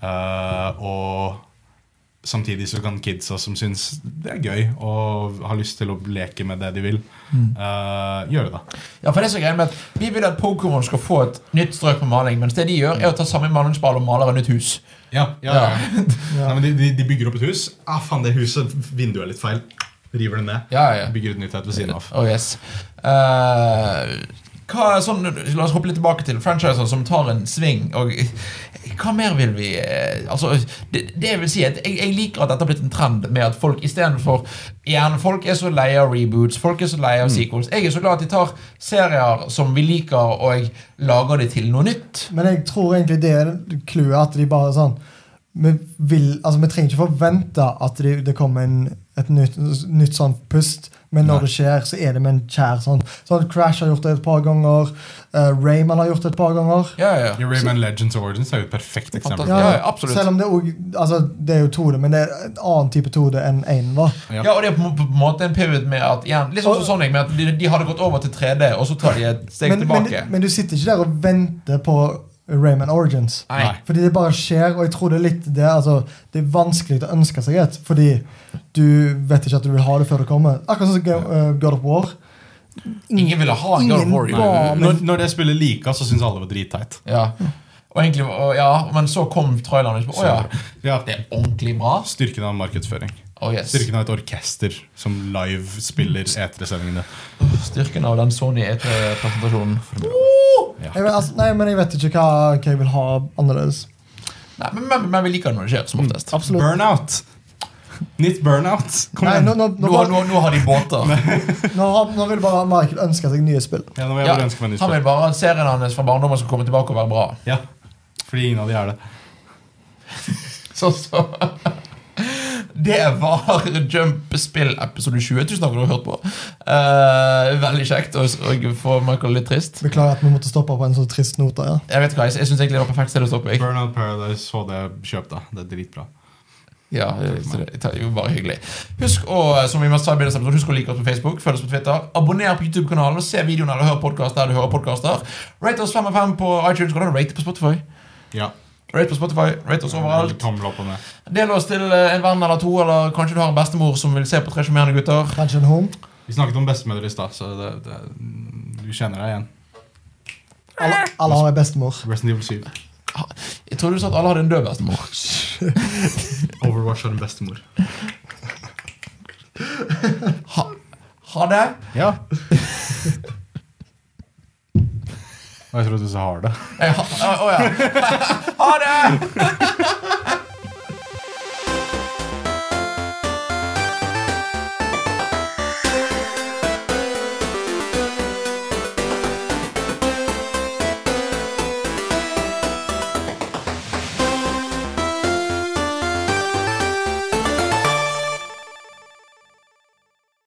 Eh, og samtidig så kan kidsa som syns det er gøy og har lyst til å leke med det de vil, eh, gjøre det. ja, for det er så greit med at Vi vil at Pokémon skal få et nytt strøk på maling, mens det de gjør, er å ta samme malingsball og maler et nytt hus. Ja, ja, ja. [laughs] Ja. Nei, men de, de, de bygger opp et hus. Ah, faen, det huset, vinduet er litt feil. River det ned. Ja, ja. Bygger et nytt et ved siden av. Oh, yes. Eh, hva er sånn, la oss hoppe litt tilbake til franchiser som tar en sving. Og, hva mer vil vi eh, altså, det, det vil si at jeg, jeg liker at dette har blitt en trend med at folk istedenfor Igjen, folk er så lei av reboots, folk er så lei Mm. av sequels. Jeg er så glad at de tar serier som vi liker, og lager det til noe nytt. Men jeg tror egentlig det er clouet, at de bare sånn vi, vil, altså, vi trenger ikke forvente at det, det kommer en, et nytt, nytt sånn pust, men når Nei. det skjer, så er det med en kjær sånn. sånn Crash har gjort det et par ganger. eh, Rayman har gjort det et par ganger. Ja, ja, ja. Ja, Rayman Legends Origins er jo et perfekt eksempel. Fantastisk. Ja, ja, absolutt. Selv om det òg altså, Det er jo 2D, men det er en annen type 2D enn 1 var. Ja. Ja, og det er på en på en måte en pivot med at igjen, liksom sånn Sonic, med at de, de hadde gått over til 3D, og så tar de et steg Men, men, tilbake. men du sitter ikke der og venter på Rayman Origins. Nei. Fordi det bare skjer, og jeg tror det er litt det altså, Det er vanskelig å ønske seg et, fordi du vet ikke at du vil ha det før det kommer. Akkurat sånn som Ga- eh, God of War. Ingen ville ha en God of Ingen War. var- Nei, når, når det spillet lika, så syns alle det var dritteit. Ja. Og egentlig, og ja, men så kom traileren. og så- Å ja, Ja. det er ordentlig bra. Styrken av markedsføring. Oh, yes. Styrken av et orkester som live spiller E etersendingene. Styrken av den Sony E3-presentasjonen. Jeg, vet- altså, nei, men jeg vet ikke hva, hva jeg vil ha annerledes. Nei, men, men, men vi liker det når det skjer, som oftest. Absolutt. Burnout! Nytt burnout! Kom Nei, igjen! nå, nå, Nå, nå, bare- nå, nå har de båter. nå, har- nå vil bare Michael ønske seg nye spill. Ja, nå må jeg Ja, bare ønske meg nytt han vil spill. bare at serien hans fra barndommen skal komme tilbake og være bra. Ja. Fordi ingen av de er det. Så, så. [laughs] Det var Jump-spill episode 20. Tusen takk for at du har hørt på. Eh, veldig kjekt og, og få Michael litt trist. Beklager at vi måtte stoppe på en så trist note. Ja. Jeg vet hva, jeg, jeg synes egentlig det var perfekt sted å stoppe. Jeg. Burnout Paradise, så det. Kjøp det. Det er dritbra. Ja, Eh, så det det er jo bare hyggelig. Husk å eh, som vi mest sa i begynnelsen av episoden, husk å like oss på Facebook, følg oss på Twitter, abonner på YouTube-kanalen, og se videoene eller hør podkast der du hører podkaster. Rate oss 5 av 5 på iTunes. Kan du rate på Spotify? Ja. Rate på Spotify, rate oss overalt. Tommel opp og ned. Del oss til eh, en venn eller to, eller kanskje du har en bestemor som vil se på Tre sjarmerende gutter. Kanskje en home. Vi snakket om bestemødre i stad, så det, det, du kjenner deg igjen. Alle, alle har ei bestemor. Resident Evil 7. Jeg trodde du sa at alle hadde en død bestemor. Overwatch har en bestemor. [laughs] Ha, ha det. Ja. Og jeg trodde du sa har det. Eh, Jeg [laughs] ha- Å å, ja. Ha det!